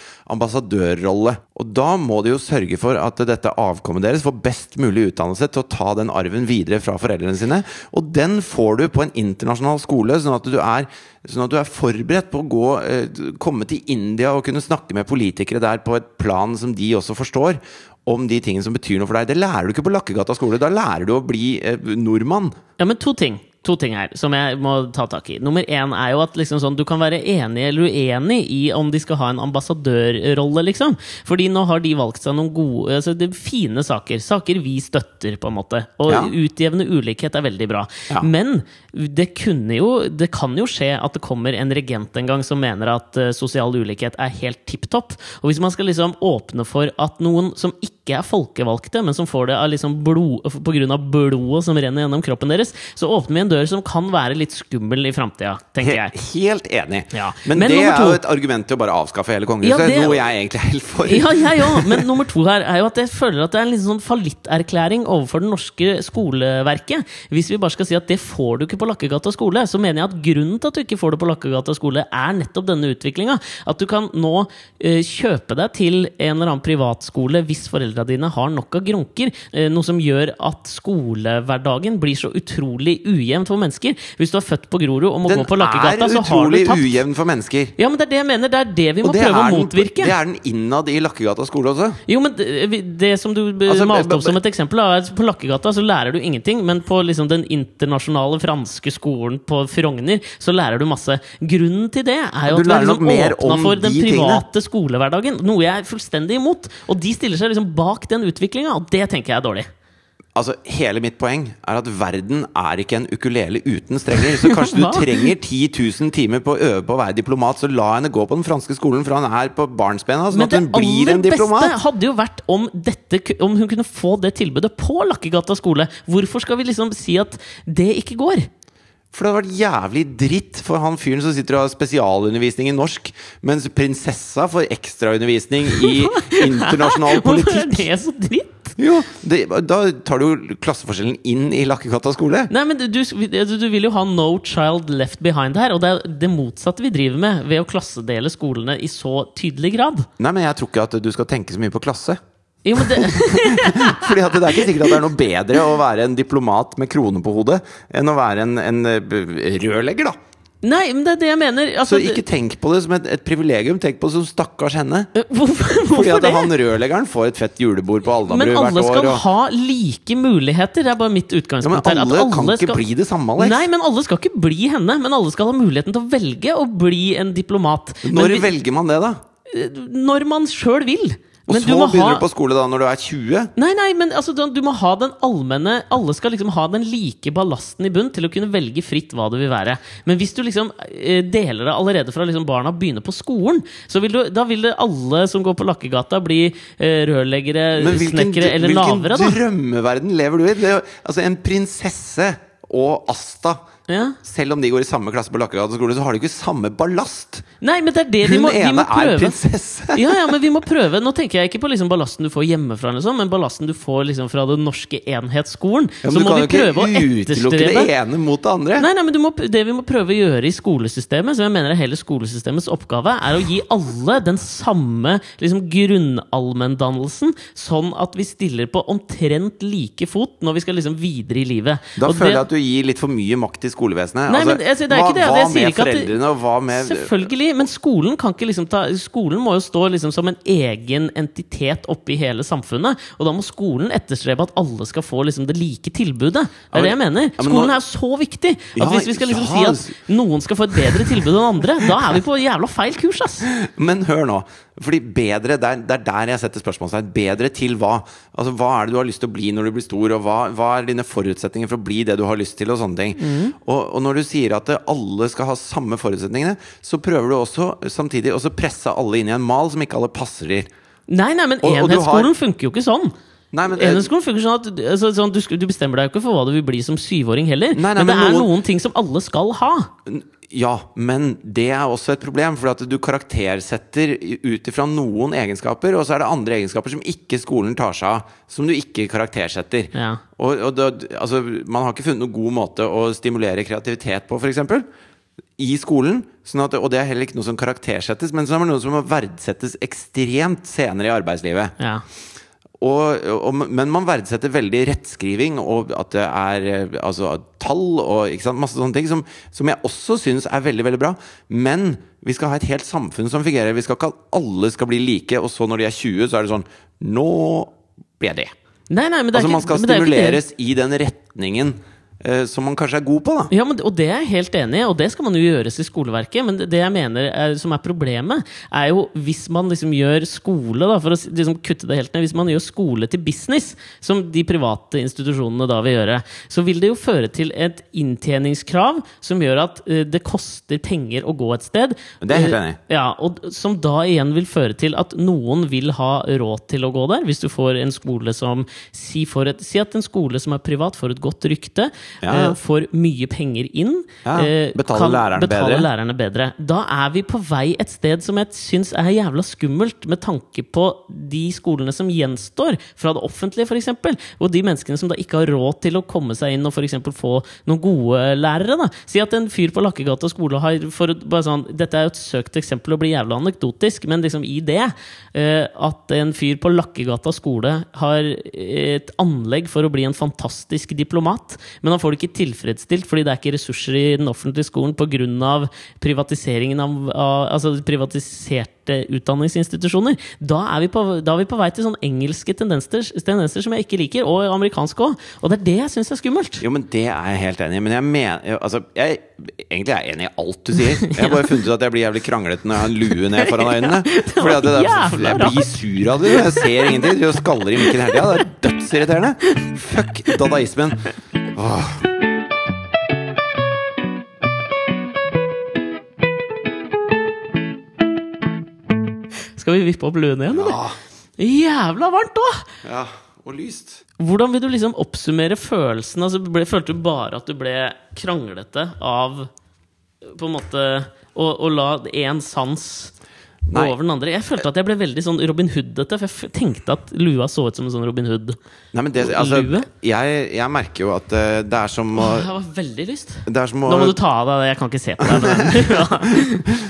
Speaker 1: ambassadørrolle. Og da må de jo sørge for at dette avkommet deres får best mulig utdannelse til å ta den arven videre fra foreldrene sine. Og den får du på en internasjonal skole, sånn at du er, sånn at du er forberedt på å gå, eh, komme til India og kunne snakke med politikere der på et plan som de også forstår. Om de tingene som betyr noe for deg. Det lærer du ikke på Lakkegata skole. Da lærer du å bli eh, nordmann.
Speaker 2: Ja, men to ting. To ting her som jeg må ta tak i. Nummer én er jo at liksom sånn, du kan være enig eller uenig i om de skal ha en ambassadørrolle, liksom. Fordi nå har de valgt seg noen gode, altså, det er fine saker. Saker vi støtter, på en måte. Og
Speaker 1: Ja.
Speaker 2: utjevne ulikhet er veldig bra.
Speaker 1: Ja.
Speaker 2: Men det kunne jo Det kan jo skje at det kommer en regent en gang som mener at eh, sosial ulikhet er helt tipp topp. Og hvis man skal liksom åpne for at noen som ikke er folkevalgte, men som får det av liksom blod, på grunn av blodet som renner gjennom kroppen deres, så åpner vi en dør som kan være litt skummel i framtida, tenker
Speaker 1: He
Speaker 2: jeg.
Speaker 1: helt enig.
Speaker 2: Ja.
Speaker 1: Men,
Speaker 2: Men
Speaker 1: det
Speaker 2: nummer
Speaker 1: er jo
Speaker 2: to-
Speaker 1: et argument til å bare avskaffe hele kongehuset.
Speaker 2: Ja, det-
Speaker 1: Noe jeg egentlig er helt for.
Speaker 2: Ja, jeg òg. Men nummer to her er jo at jeg føler at det er en liksom sånn fallitterklæring overfor det norske skoleverket. Hvis vi bare skal si at det får du ikke på Lakkegata skole, så mener jeg at grunnen til at du ikke får det på Lakkegata skole, er nettopp denne utviklinga. At du kan nå eh, kjøpe deg til en eller annen privatskole hvis foreldra dine har nok av grunker. eh, noe som gjør at skolehverdagen blir så utrolig ujevnt for mennesker. Hvis du er født på Grorud og må
Speaker 1: Den
Speaker 2: gå på Lakkegata,
Speaker 1: er
Speaker 2: så har du
Speaker 1: utrolig
Speaker 2: tapt.
Speaker 1: ujevn for mennesker.
Speaker 2: Ja, men det er det jeg mener. Det er det vi må
Speaker 1: Og det
Speaker 2: prøve
Speaker 1: er,
Speaker 2: å
Speaker 1: den,
Speaker 2: motvirke.
Speaker 1: det er den innad i Lakkegata skole også.
Speaker 2: Jo, men det, vi- det som du eh,
Speaker 1: Altså, b-
Speaker 2: malte
Speaker 1: b-
Speaker 2: opp som et eksempel, er at på Lakkegata så lærer du ingenting, men på liksom den internasjonale franske skolen på Frogner så lærer du masse. Grunnen til det er jo
Speaker 1: Du
Speaker 2: at man
Speaker 1: lærer nok
Speaker 2: liksom
Speaker 1: mer om
Speaker 2: åpna for den
Speaker 1: de tingene.
Speaker 2: private skolehverdagen, noe jeg er fullstendig imot. Og de stiller seg liksom bak den utviklinga, og det tenker jeg er dårlig.
Speaker 1: Altså, Hele mitt poeng er at verden er ikke en ukulele uten strenger. Så kanskje du
Speaker 2: Hva?
Speaker 1: trenger 10 000 timer på å øve på å være diplomat, så la henne gå på den franske skolen fra hun er på barnsbena, sånn
Speaker 2: Men
Speaker 1: at
Speaker 2: det
Speaker 1: hun blir
Speaker 2: aller
Speaker 1: en
Speaker 2: beste
Speaker 1: diplomat.
Speaker 2: hadde jo vært om, dette, ku- om hun kunne få det tilbudet på Lakkegata skole. Hvorfor skal vi liksom si at det ikke går?
Speaker 1: For det hadde vært jævlig dritt for han fyren som sitter og har spesialundervisning i norsk, mens prinsessa får ekstraundervisning i internasjonal
Speaker 2: Hvorfor er
Speaker 1: politikk.
Speaker 2: det så dritt?
Speaker 1: Jo, det, da tar du jo klasseforskjellen inn i Lakkegata skole.
Speaker 2: Nei, men du, du, du vil jo ha no child left behind her, og det er det motsatte vi driver med ved å klassedele skolene i så tydelig grad.
Speaker 1: Nei, men jeg tror ikke at du skal tenke så mye på klasse.
Speaker 2: Jo, men det,
Speaker 1: Fordi at det er ikke sikkert at det er noe bedre å være en diplomat med krone på hodet enn å være en, en eh, b- rørlegger, da.
Speaker 2: nei, men det er det jeg mener. Altså,
Speaker 1: Så ikke tenk på det som et, et privilegium, tenk på det som stakkars henne.
Speaker 2: det- eh, hvorfor,
Speaker 1: Fordi
Speaker 2: hvorfor
Speaker 1: at
Speaker 2: det?
Speaker 1: han rørleggeren får et fett julebord på
Speaker 2: Men
Speaker 1: Alnabru hvert
Speaker 2: alle skal
Speaker 1: år. Og,
Speaker 2: ha like muligheter. Det er bare mitt
Speaker 1: ja, men
Speaker 2: utgangspunkt. her,
Speaker 1: alle,
Speaker 2: at
Speaker 1: kan
Speaker 2: alle
Speaker 1: ikke
Speaker 2: skal-
Speaker 1: bli det samme, Alex.
Speaker 2: Nei, men alle skal ikke bli henne. Men alle skal ha muligheten til å velge å bli en diplomat. Men
Speaker 1: Når
Speaker 2: vi-
Speaker 1: velger man det, da?
Speaker 2: når man sjøl vil.
Speaker 1: Og
Speaker 2: Men du
Speaker 1: så
Speaker 2: må ha-
Speaker 1: begynner du på skole da når du er 20.
Speaker 2: Nei, nei, men altså, du, du må ha den allmenne Alle skal liksom ha den like ballasten i bunn til å kunne velge fritt hå det vil være. Men hvis du liksom eh, deler det allerede fra liksom barna begynner på skolen, så vil du, da vil det alle som går på Lakkegata, bli eh, rørleggere,
Speaker 1: Men hvilken,
Speaker 2: snekkere eller
Speaker 1: hvilken
Speaker 2: lavere, da.
Speaker 1: drømmeverden lever du i? Det, er jo- altså En prinsesse og Asta.
Speaker 2: Ja.
Speaker 1: Selv om de går i samme klasse på Lakkegata skole, så har de ikke samme ballast!
Speaker 2: Nei, men det er det de
Speaker 1: Hun
Speaker 2: må, de
Speaker 1: ene
Speaker 2: må
Speaker 1: er
Speaker 2: prøve.
Speaker 1: prinsesse!
Speaker 2: Ja, ja, men vi må prøve. Nå tenker jeg ikke på liksom ballasten du får hjemmefra, eller sånn, men ballasten du får liksom fra den norske enhetsskolen.
Speaker 1: Ja,
Speaker 2: så
Speaker 1: men du
Speaker 2: må
Speaker 1: kan jo
Speaker 2: vi
Speaker 1: ikke
Speaker 2: prøve å
Speaker 1: utelukke
Speaker 2: etterstrebe
Speaker 1: det ene mot det andre!
Speaker 2: Nei, nei, men du må, det vi må prøve å gjøre i skolesystemet, som jeg mener er hele skolesystemets oppgave, er å gi alle den samme liksom, grunnallmenndannelsen, sånn at vi stiller på omtrent like fot når vi skal liksom videre i livet.
Speaker 1: Da
Speaker 2: Og
Speaker 1: føler jeg
Speaker 2: det-
Speaker 1: at du gir litt for mye makt til skolevesenet.
Speaker 2: Nei, men altså, det er
Speaker 1: hva,
Speaker 2: ikke det,
Speaker 1: hva
Speaker 2: jeg sier
Speaker 1: med
Speaker 2: ikke at det-
Speaker 1: foreldrene, og hva med
Speaker 2: Selvfølgelig, men skolen kan ikke liksom ta Skolen må jo stå liksom som en egen entitet oppi hele samfunnet. Og da må skolen etterstrebe at alle skal få liksom det like tilbudet. Det
Speaker 1: Ja,
Speaker 2: er det jeg
Speaker 1: men-
Speaker 2: mener.
Speaker 1: ja, men
Speaker 2: Skolen
Speaker 1: nå-
Speaker 2: er jo så viktig at
Speaker 1: Ja,
Speaker 2: hvis vi skal liksom
Speaker 1: ja.
Speaker 2: si at noen skal få et bedre tilbud enn andre, da er vi på jævla feil kurs, ass!
Speaker 1: Men hør nå. Fordi bedre, det er, det er der jeg setter spørsmålstegn. Bedre til hva? Altså, Hva er det du har lyst til å bli når du blir stor, og hva, hva er dine forutsetninger for å bli det du har lyst til, og sånne ting. Og, og når du sier at eh, alle skal ha samme forutsetningene, så prøver du også samtidig også presse alle inn i en mal som ikke alle passer til.
Speaker 2: Nei, nei, men
Speaker 1: Og- og du har-
Speaker 2: enhetsskolen funker jo ikke sånn.
Speaker 1: Nei, men, eh,
Speaker 2: Enhetsskolen funker sånn at altså, sånn, du, sk- du bestemmer deg jo ikke for hva du vil bli som syvåring heller.
Speaker 1: Nei, nei,
Speaker 2: men det
Speaker 1: men
Speaker 2: er
Speaker 1: noen-
Speaker 2: noen ting som alle skal ha.
Speaker 1: Ja, men det er også et problem, for at du karaktersetter ut ifra noen egenskaper, og så er det andre egenskaper som ikke skolen tar seg av, som du ikke karaktersetter.
Speaker 2: Ja.
Speaker 1: Og, og da, altså, man har ikke funnet noen god måte å stimulere kreativitet på, f.eks. I skolen. Sånn at, og det er heller ikke noe som karaktersettes, men så er det noe som må verdsettes ekstremt senere i arbeidslivet.
Speaker 2: Ja.
Speaker 1: Og, og, men man verdsetter veldig rettskriving og at det er eh, altså, tall og ikke sant? masse sånne ting som, som jeg også syns er veldig veldig bra. Men vi skal ha et helt samfunn som fungerer. Vi skal ikke at alle skal bli like, og så når de er 20, så er det sånn Nå ble jeg det.
Speaker 2: Nei, nei, men det er
Speaker 1: Altså,
Speaker 2: ikke,
Speaker 1: man skal
Speaker 2: men det er jo ikke det-
Speaker 1: stimuleres i den retningen eh, som man kanskje er god på, da.
Speaker 2: Ja, men, og det er jeg helt enig i, og det skal man jo gjøres i skoleverket. Men det det jeg mener er, som er problemet, er jo hvis man liksom gjør skole da, For å s- liksom kutte det helt ned Hvis man gjør skole til business, som de private institusjonene da vil gjøre, så vil det jo føre til et inntjeningskrav som gjør at eh, det koster penger å gå et sted.
Speaker 1: Det er jeg helt enig i.
Speaker 2: Ja, og d- som da igjen vil føre til at noen vil ha råd til å gå der. Hvis du får en skole som Si, får et, si at en skole som er privat, får et godt rykte,
Speaker 1: Ja.
Speaker 2: eh, får mye penger inn.
Speaker 1: Ja,
Speaker 2: eh,
Speaker 1: betaler
Speaker 2: kan
Speaker 1: lærerne
Speaker 2: betale
Speaker 1: bedre.
Speaker 2: lærerne bedre. Da er vi på vei et sted som jeg syns er jævla skummelt, med tanke på de skolene som gjenstår fra det offentlige, f.eks. Og de menneskene som da ikke har råd til å komme seg inn og f.eks. få noen gode lærere. Da. Si at en fyr på Lakkegata skole har for, å- bare sånn, Dette er jo et søkt eksempel og blir jævla anekdotisk, men liksom i det eh, at en fyr på Lakkegata skole har et anlegg for å bli en fantastisk diplomat, men han får det ikke tilfredsstilt fordi det er ikke ressurser i den offentlige skolen pga. privatiseringen av, av altså privatiserte utdanningsinstitusjoner. Da er, vi på, da er vi på vei til sånne engelske tendenser, tendenser som jeg ikke liker, og amerikanske òg. Og det er det jeg syns er skummelt.
Speaker 1: Jo, men det er jeg helt enig i. Men jeg mener altså, jeg, Egentlig er jeg enig i alt du sier. Jeg har bare funnet ut at jeg blir jævlig kranglete når jeg har en lue ned foran øynene.
Speaker 2: var
Speaker 1: Fordi at det der,
Speaker 2: jævla
Speaker 1: jeg blir sur av det. Jeg ser ingenting. Du skaller i mikken hele tida. Det er dødsirriterende. Fuck dadaismen. Åh.
Speaker 2: Skal vi vippe opp luen igjen, eller?
Speaker 1: Ja.
Speaker 2: Jævla varmt òg!
Speaker 1: ja. Og lyst.
Speaker 2: Hvordan vil du liksom oppsummere følelsen? Altså, ble, følte du bare at du ble kranglete av på en måte å, å la én sans gå
Speaker 1: Nei.
Speaker 2: over den andre? Jeg følte at jeg ble veldig sånn Robin Hood-ete, for jeg f tenkte at lua så ut som en sånn Robin Hood.
Speaker 1: Nei, men det, altså,
Speaker 2: Lue?
Speaker 1: jeg, jeg merker jo at eh, det er som å
Speaker 2: Jeg var veldig lyst.
Speaker 1: det er som å,
Speaker 2: Nå må du ta av deg det, jeg kan ikke se på deg. men- Ja.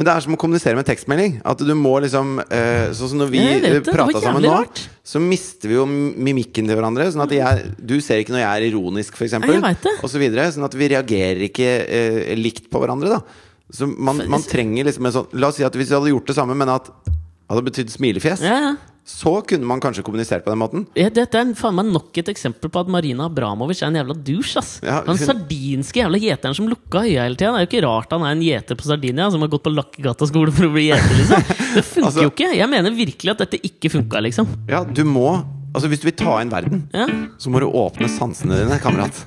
Speaker 1: men det er som å kommunisere med tekstmelding. At du må liksom eh, Sånn som når vi
Speaker 2: Jeg vet det, det var
Speaker 1: prata sammen
Speaker 2: jævlig
Speaker 1: nå,
Speaker 2: rart.
Speaker 1: så mister vi jo mimikken til hverandre. Sånn at jeg, du ser ikke når jeg er ironisk, f.eks.
Speaker 2: Nei, jeg vet det.
Speaker 1: Og så videre. Sånn at vi reagerer ikke eh, likt på hverandre, da. Så man, man trenger liksom en sånn La oss si at hvis vi hadde gjort det samme, men at det hadde betydd smilefjes,
Speaker 2: Ja, ja.
Speaker 1: så kunne man kanskje kommunisert på den måten.
Speaker 2: Ja, Dette er en- faen meg nok et eksempel på at Marina Abramovic er en jævla douche. ass
Speaker 1: Ja,
Speaker 2: Den
Speaker 1: hun-
Speaker 2: sardinske jævla gjeteren som lukka øya hele tida. Det er jo ikke rart han er en gjeter på Sardinia, som har gått på Lakkegata skole for å bli gjeter. liksom Det funker
Speaker 1: Altså-
Speaker 2: jo ikke! Jeg mener virkelig at dette ikke funka, liksom.
Speaker 1: Ja, du må Altså, hvis du vil ta inn verden,
Speaker 2: Ja.
Speaker 1: så må du åpne sansene dine, kamerat.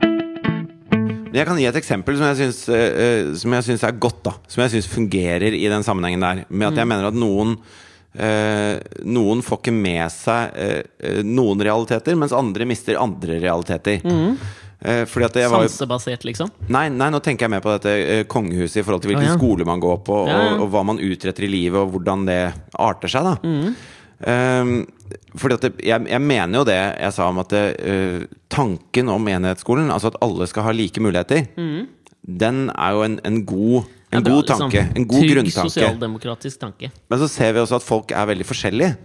Speaker 1: Men Jeg kan gi et eksempel som jeg syns, eh, eh, som jeg syns er godt. da Som jeg syns fungerer i den sammenhengen der. Med at jeg mener at noen eh, Noen får ikke med seg eh, eh, noen realiteter, mens andre mister andre realiteter. Eh, fordi at jeg var jo
Speaker 2: Sansebasert, liksom.
Speaker 1: Nei, nei, nå tenker jeg mer på dette eh, kongehuset i forhold til hvilken
Speaker 2: Å, ja.
Speaker 1: skole man går på, og,
Speaker 2: Ja, ja.
Speaker 1: og hva man utretter i livet, og hvordan det arter seg, da.
Speaker 2: Mm.
Speaker 1: Ehm, fordi at det, jeg, jeg mener jo det jeg sa om at det, eh, tanken om enhetsskolen, altså at alle skal ha like muligheter, den er jo en, en god, en
Speaker 2: Det er Mm. bra,
Speaker 1: god tanke.
Speaker 2: liksom.
Speaker 1: En god
Speaker 2: Trygg
Speaker 1: grunntanke.
Speaker 2: sosialdemokratisk tanke.
Speaker 1: Men så ser vi også at folk er veldig forskjellige.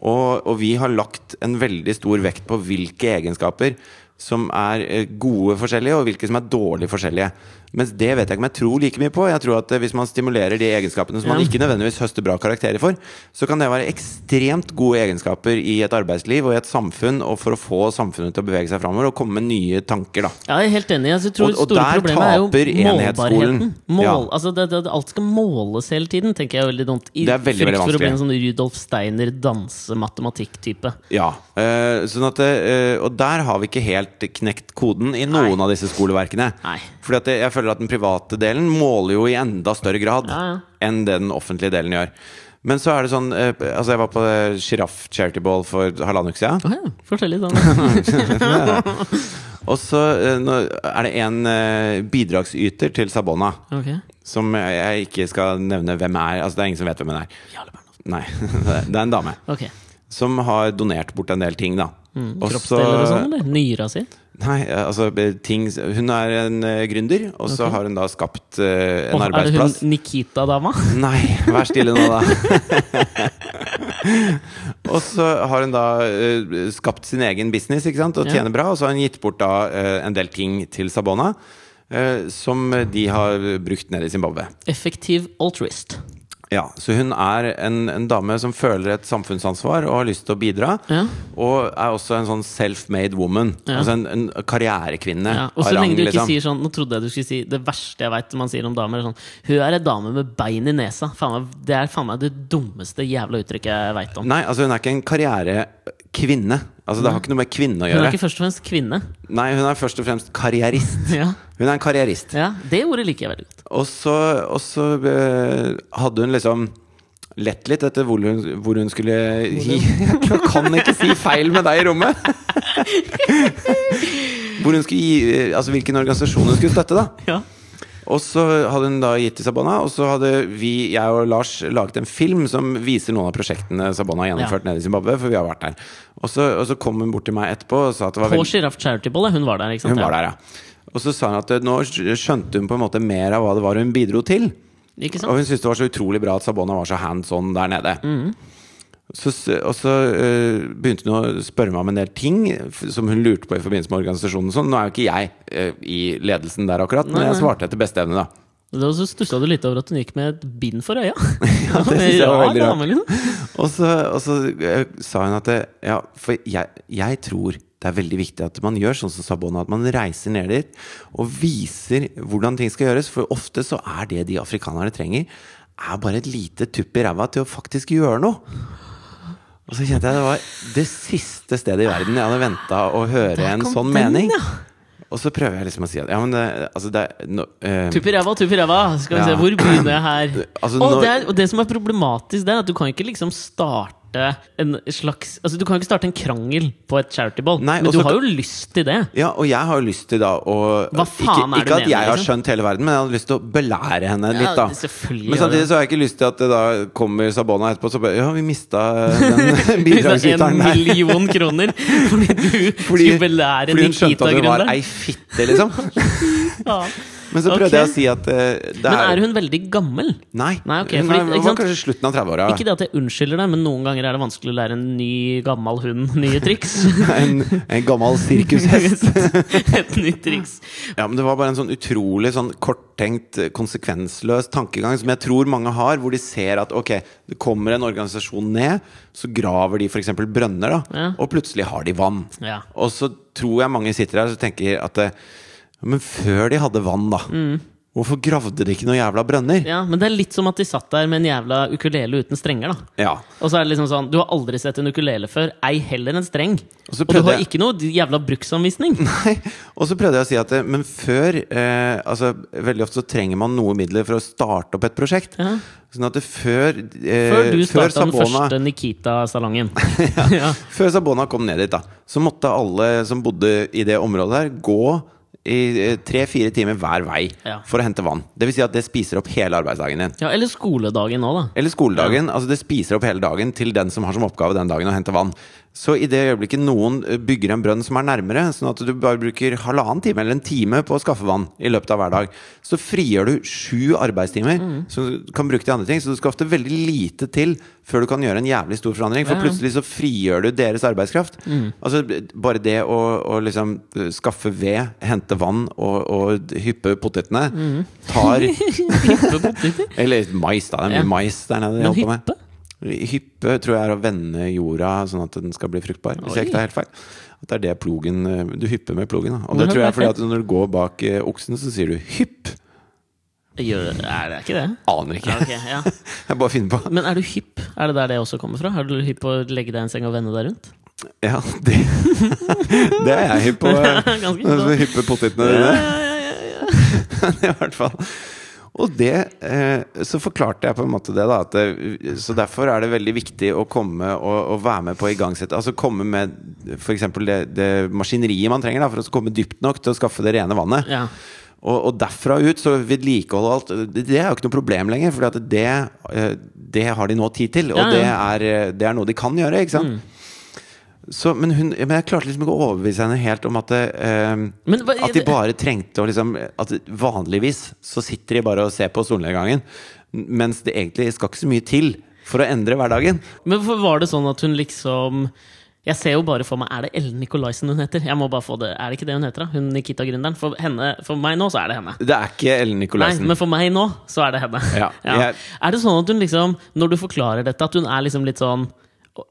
Speaker 1: Og, og vi har lagt en veldig stor vekt på hvilke egenskaper som er eh, gode forskjellige, og hvilke som er dårlig forskjellige. Mens det vet jeg ikke om jeg tror like mye på. Jeg tror at eh, Hvis man stimulerer de egenskapene som man
Speaker 2: Ja.
Speaker 1: ikke nødvendigvis høster bra karakterer for, så kan det være ekstremt gode egenskaper i et arbeidsliv og i et samfunn, og for å få samfunnet til å bevege seg framover og komme med nye tanker, da.
Speaker 2: Ja, jeg er helt enig. Altså, Jeg tror
Speaker 1: Og- og
Speaker 2: store
Speaker 1: der
Speaker 2: problemet er jo
Speaker 1: taper enhetsskolen.
Speaker 2: målbarheten. Mål,
Speaker 1: Ja.
Speaker 2: altså det, det, alt skal måles hele tiden, tenker jeg er veldig dumt. I
Speaker 1: Det er veldig,
Speaker 2: frykt
Speaker 1: veldig
Speaker 2: for å bli en
Speaker 1: vanskelig.
Speaker 2: sånn Rudolf Steiner danse-matematikk-type.
Speaker 1: Ja, eh, sånn at, eh, Og der har vi ikke helt knekt koden i noen av disse skoleverkene.
Speaker 2: Nei.
Speaker 1: Fordi at det- jeg føler at den private delen måler jo i enda større grad
Speaker 2: Ja, ja.
Speaker 1: enn det den offentlige delen gjør. Men så er det sånn eh, Altså, jeg var på Sjiraff Charity Ball for halvannen uke siden.
Speaker 2: Å ja, forskjellig sånn.
Speaker 1: Og så eh, nå er det en eh, bidragsyter til Sabona
Speaker 2: Ok.
Speaker 1: som jeg- jeg ikke skal nevne hvem er. Altså, det er ingen som vet hvem hun er.
Speaker 2: Jarle Bernhoft.
Speaker 1: Nei, det er en dame
Speaker 2: Ok.
Speaker 1: som har donert bort en del ting, da.
Speaker 2: Mm,
Speaker 1: Og så-
Speaker 2: Kroppsdeler og sånn, eller? Nyra si?
Speaker 1: Nei, eh, altså eh, ting Hun er en eh, gründer, og så har hun da skapt eh, en
Speaker 2: Og er det hun
Speaker 1: arbeidsplass.
Speaker 2: Nikita-dama?
Speaker 1: Nei, vær stille nå, da. og så har hun da eh, skapt sin egen business ikke sant? og
Speaker 2: Ja.
Speaker 1: tjener bra. Og så har hun gitt bort da eh, en del ting til Sabona eh, som de har brukt nede i Zimbabwe.
Speaker 2: Effektiv altruist.
Speaker 1: Ja, Så hun er en, en dame som føler et samfunnsansvar og har lyst til å bidra.
Speaker 2: Ja.
Speaker 1: Og er også en sånn self-made woman.
Speaker 2: Ja.
Speaker 1: Altså en, en karrierekvinne.
Speaker 2: Ja, og så
Speaker 1: av rang,
Speaker 2: lenge du ikke
Speaker 1: liksom.
Speaker 2: sier sånn Nå trodde jeg du skulle si det verste jeg veit man sier om damer. er Sånn, Hun er ei dame med bein i nesa. Faen meg, det er faen meg det dummeste jævla uttrykket jeg veit om.
Speaker 1: Nei, altså hun er ikke en karrierekvinne. Altså Det har ikke noe med kvinne å
Speaker 2: Hun er
Speaker 1: gjøre.
Speaker 2: ikke først og fremst kvinne.
Speaker 1: Nei, hun er først og fremst karrierist.
Speaker 2: Ja,
Speaker 1: Hun er en karrierist.
Speaker 2: ja Det ordet liker jeg veldig godt.
Speaker 1: Og så, og så eh, hadde hun liksom lett litt etter hvor hun, hvor hun skulle gi Jeg kan ikke si feil med deg i rommet! Hvor hun skulle gi eh, Altså hvilken organisasjon hun skulle støtte, da.
Speaker 2: Ja.
Speaker 1: Og så hadde hun da gitt til Sabana, og så hadde vi, jeg og Lars, laget en film som viser noen av prosjektene Sabana har gjennomført nede i Zimbabwe, for vi har vært der. Og så, og så kom hun bort til meg etterpå og sa at det var
Speaker 2: På
Speaker 1: veldig
Speaker 2: Sjiraff Charity Ball, ja, hun var der, ikke sant?
Speaker 1: Hun var der, ja. Og så sa hun at eh, nå skjønte hun på en måte mer av hva det var hun bidro til.
Speaker 2: Ja. Ikke
Speaker 1: Og
Speaker 2: sant?
Speaker 1: hun syntes det var så utrolig bra at Sabona var så hands on der nede.
Speaker 2: Mm.
Speaker 1: Så, s- og så eh, begynte hun å spørre meg om en del ting f- som hun lurte på i forbindelse med organisasjonen. og Sånn. Nå er jo ikke jeg eh, i ledelsen der akkurat, men
Speaker 2: Nei,
Speaker 1: jeg
Speaker 2: nei.
Speaker 1: svarte etter beste evne, da.
Speaker 2: Da så stussa du litt over at hun gikk med et bind for øya. ja,
Speaker 1: det synes jeg var veldig rart.
Speaker 2: Liksom.
Speaker 1: Og så, og så eh, sa hun at det, ja, for jeg, jeg tror det er veldig viktig at man gjør sånn som Sabona, at man reiser ned dit og viser hvordan ting skal gjøres. For ofte så er det de afrikanerne trenger, er bare et lite tupp i ræva til å faktisk gjøre noe. Og så kjente jeg det var det siste stedet i verden jeg hadde venta å høre en
Speaker 2: kom
Speaker 1: sånn
Speaker 2: den,
Speaker 1: mening.
Speaker 2: ja.
Speaker 1: Og så prøver jeg liksom å si at ja, men det, altså det er no, eh,
Speaker 2: Tupp i ræva, tupp i ræva! Skal vi
Speaker 1: Ja.
Speaker 2: se, hvor begynner jeg her?
Speaker 1: Altså,
Speaker 2: og,
Speaker 1: når-
Speaker 2: det er, og det som er problematisk, det er at du kan ikke liksom starte en slags Altså, du kan ikke starte en krangel på et charity ball,
Speaker 1: Nei,
Speaker 2: men du
Speaker 1: og så-
Speaker 2: har jo lyst til det.
Speaker 1: Ja, og jeg har jo lyst til da å
Speaker 2: Hva faen
Speaker 1: Ikke,
Speaker 2: er det
Speaker 1: ikke
Speaker 2: du
Speaker 1: at jeg
Speaker 2: mener,
Speaker 1: har
Speaker 2: liksom?
Speaker 1: skjønt hele verden, men jeg hadde lyst til å belære henne
Speaker 2: Ja,
Speaker 1: litt, da.
Speaker 2: selvfølgelig
Speaker 1: Men
Speaker 2: gjør
Speaker 1: samtidig
Speaker 2: det.
Speaker 1: så har jeg ikke lyst til at det da kommer Sabona etterpå og så bare Ja, vi mista den
Speaker 2: Hvis det er
Speaker 1: bidragsyteren
Speaker 2: En
Speaker 1: der.
Speaker 2: million kroner fordi du skulle belære
Speaker 1: fordi hun skjønte at hun var
Speaker 2: Nikita-gründeren.
Speaker 1: ei fitte, liksom.
Speaker 2: Ja.
Speaker 1: Men så prøvde
Speaker 2: Ok.
Speaker 1: jeg å si at eh, det
Speaker 2: Men er hun veldig gammel?
Speaker 1: Nei.
Speaker 2: Nei, ok,
Speaker 1: hun
Speaker 2: fordi-
Speaker 1: er-
Speaker 2: ikke
Speaker 1: var
Speaker 2: sant?
Speaker 1: kanskje slutten av 30-åra.
Speaker 2: Ikke det at jeg unnskylder deg, men noen ganger er det vanskelig å lære en ny, gammel hund nye triks.
Speaker 1: En, en gammel sirkushest.
Speaker 2: Et nytt triks.
Speaker 1: Ja, men Det var bare en sånn utrolig sånn korttenkt, konsekvensløs tankegang som jeg tror mange har, hvor de ser at ok, det kommer en organisasjon ned, så graver de f.eks. brønner, da,
Speaker 2: Ja.
Speaker 1: og plutselig har de vann.
Speaker 2: Ja.
Speaker 1: Og så tror jeg mange sitter her og tenker at eh, Men før de hadde vann, da, hvorfor gravde de ikke noen jævla brønner?
Speaker 2: Mm. ja, Men det er litt som at de satt der med en jævla ukulele uten strenger, da.
Speaker 1: Ja.
Speaker 2: Og så er det liksom sånn, du har aldri sett en ukulele før, ei heller en streng.
Speaker 1: Og
Speaker 2: Og
Speaker 1: så
Speaker 2: du
Speaker 1: prøvde
Speaker 2: har
Speaker 1: jeg-
Speaker 2: ikke noe jævla bruksanvisning.
Speaker 1: Nei, og så prøvde jeg å si at eh, Men før eh, altså, Veldig ofte så trenger man noe midler for å starte opp et prosjekt.
Speaker 2: Ja.
Speaker 1: Sånn at det før eh,
Speaker 2: Før du
Speaker 1: før
Speaker 2: starta den
Speaker 1: Sabona-
Speaker 2: første Nikita-salongen. ja.
Speaker 1: Før Sabona kom ned dit, da, så måtte alle som bodde i det området her, gå i tre-fire timer hver vei
Speaker 2: Ja.
Speaker 1: for å hente vann. Det vil si at det spiser opp hele arbeidsdagen din.
Speaker 2: ja, Eller skoledagen nå, da.
Speaker 1: Eller skoledagen. Altså det spiser opp hele dagen til den som har som oppgave den dagen å hente vann. Så i det øyeblikket noen eh, bygger en brønn som er nærmere, sånn at du bare bruker halvannen time eller en time på å skaffe vann i løpet av hver dag, så frigjør du sju arbeidstimer
Speaker 2: Mm.
Speaker 1: som du kan bruke til andre ting. Så du skal ofte veldig lite til før du kan gjøre en jævlig stor forandring. For
Speaker 2: Ja. Mm.
Speaker 1: plutselig så frigjør du deres arbeidskraft. Altså b- bare det å, å liksom eh, skaffe ved, hente vann og, og hyppe potetene
Speaker 2: Mm.
Speaker 1: tar
Speaker 2: Hyppe poteter.
Speaker 1: Eller mais, da. Det er mye
Speaker 2: Ja.
Speaker 1: mais der nede. de
Speaker 2: Men
Speaker 1: holder på med.
Speaker 2: hyppe?
Speaker 1: Hyppe tror jeg er å vende jorda sånn at den skal bli fruktbar. Hvis jeg
Speaker 2: Oi.
Speaker 1: ikke tar helt feil. At det er det plogen eh, Du hypper med plogen. Da. Og
Speaker 2: Hvordan
Speaker 1: det tror jeg er fordi
Speaker 2: vet
Speaker 1: at når du går bak eh, oksen, så sier du 'hypp'.
Speaker 2: Gjør, er det ikke det?
Speaker 1: Aner
Speaker 2: Ja,
Speaker 1: ikke.
Speaker 2: ok, ja.
Speaker 1: Jeg bare finner på.
Speaker 2: Men er du hypp? Er det der det også kommer fra? Er du hypp på å legge deg i en seng og vende deg rundt?
Speaker 1: Ja, det, det er jeg hypp på. eh,
Speaker 2: Ganske
Speaker 1: Når du
Speaker 2: hypp.
Speaker 1: hypper potetene
Speaker 2: da. Ja,
Speaker 1: dine.
Speaker 2: ja, ja, ja, ja.
Speaker 1: I hvert fall. Og det, eh, så forklarte jeg på en måte det, da. At det, så derfor er det veldig viktig å komme og, og være med på å igangsette. Altså komme med f.eks. Det, det maskineriet man trenger da, for å komme dypt nok til å skaffe det rene vannet.
Speaker 2: Ja.
Speaker 1: Og, og derfra ut, så vedlikehold og alt, det, det er jo ikke noe problem lenger. For det, eh, det har de nå tid til, og
Speaker 2: Ja,
Speaker 1: Det,
Speaker 2: ja.
Speaker 1: er, eh, det er noe de kan gjøre. Ikke sant?
Speaker 2: Mm.
Speaker 1: Så, men, hun, men jeg klarte liksom ikke å overbevise henne helt om at det, eh,
Speaker 2: Men hva-
Speaker 1: at de bare trengte å liksom At vanligvis så sitter de bare og ser på solnedgangen, mens det egentlig skal ikke så mye til for å endre hverdagen.
Speaker 2: Men hvorfor var det sånn at hun liksom Jeg ser jo bare for meg Er det Ellen Nikolaisen hun heter? Jeg må bare få det Er det ikke det hun heter, da? Hun Nikita-gründeren? For, henne- for meg nå, så er det henne.
Speaker 1: Det er ikke Ellen
Speaker 2: Nei,
Speaker 1: Nikolaisen.
Speaker 2: men for meg nå, så er det henne.
Speaker 1: Ja, jeg-
Speaker 2: Er det sånn at hun liksom, når du forklarer dette, at hun er liksom litt sånn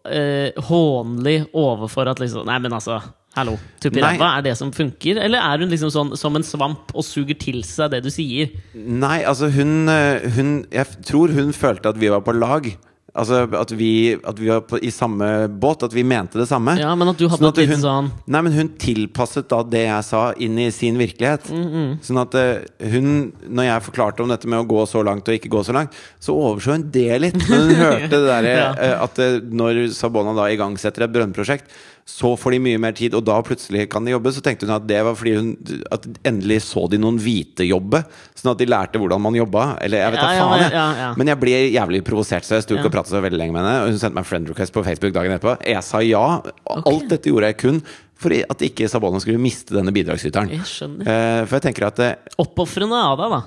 Speaker 2: eh, hånlig overfor at liksom Nei, men altså, hallo, tupp i
Speaker 1: Nei.
Speaker 2: ræva, er det som funker? Eller er hun liksom sånn som en svamp og suger til seg det du sier?
Speaker 1: Nei, altså hun, eh, hun Jeg f- tror hun følte at vi var på lag. Altså at vi, at vi var på, i samme båt, at vi mente det samme.
Speaker 2: Ja, men at du hadde
Speaker 1: Sånn
Speaker 2: et
Speaker 1: at
Speaker 2: lite
Speaker 1: hun-
Speaker 2: sånn
Speaker 1: Nei, men hun tilpasset da det jeg sa, inn i sin virkelighet.
Speaker 2: Mm-hmm.
Speaker 1: Sånn at eh, hun, når jeg forklarte om dette med å gå så langt og ikke gå så langt, så overså hun det litt. Men hun hørte det derre
Speaker 2: Ja.
Speaker 1: eh, at eh, når Sabona da igangsetter et brønnprosjekt, så får de mye mer tid, og da plutselig kan de jobbe. Så tenkte hun at det var fordi hun At endelig så de noen hvite jobbe, sånn at de lærte hvordan man jobba. Eller jeg vet
Speaker 2: Ja,
Speaker 1: da
Speaker 2: ja,
Speaker 1: faen, jeg.
Speaker 2: ja, ja.
Speaker 1: Men jeg ble jævlig provosert, så jeg sto ikke
Speaker 2: Ja.
Speaker 1: og pratet så veldig lenge med henne. Og hun sendte meg en friend request på Facebook dagen etterpå. Jeg sa ja. Alt dette gjorde jeg kun for at ikke Sabona skulle miste denne bidragsyteren.
Speaker 2: Jeg skjønner.
Speaker 1: Eh, for jeg tenker at eh,
Speaker 2: Oppofrende av deg, da.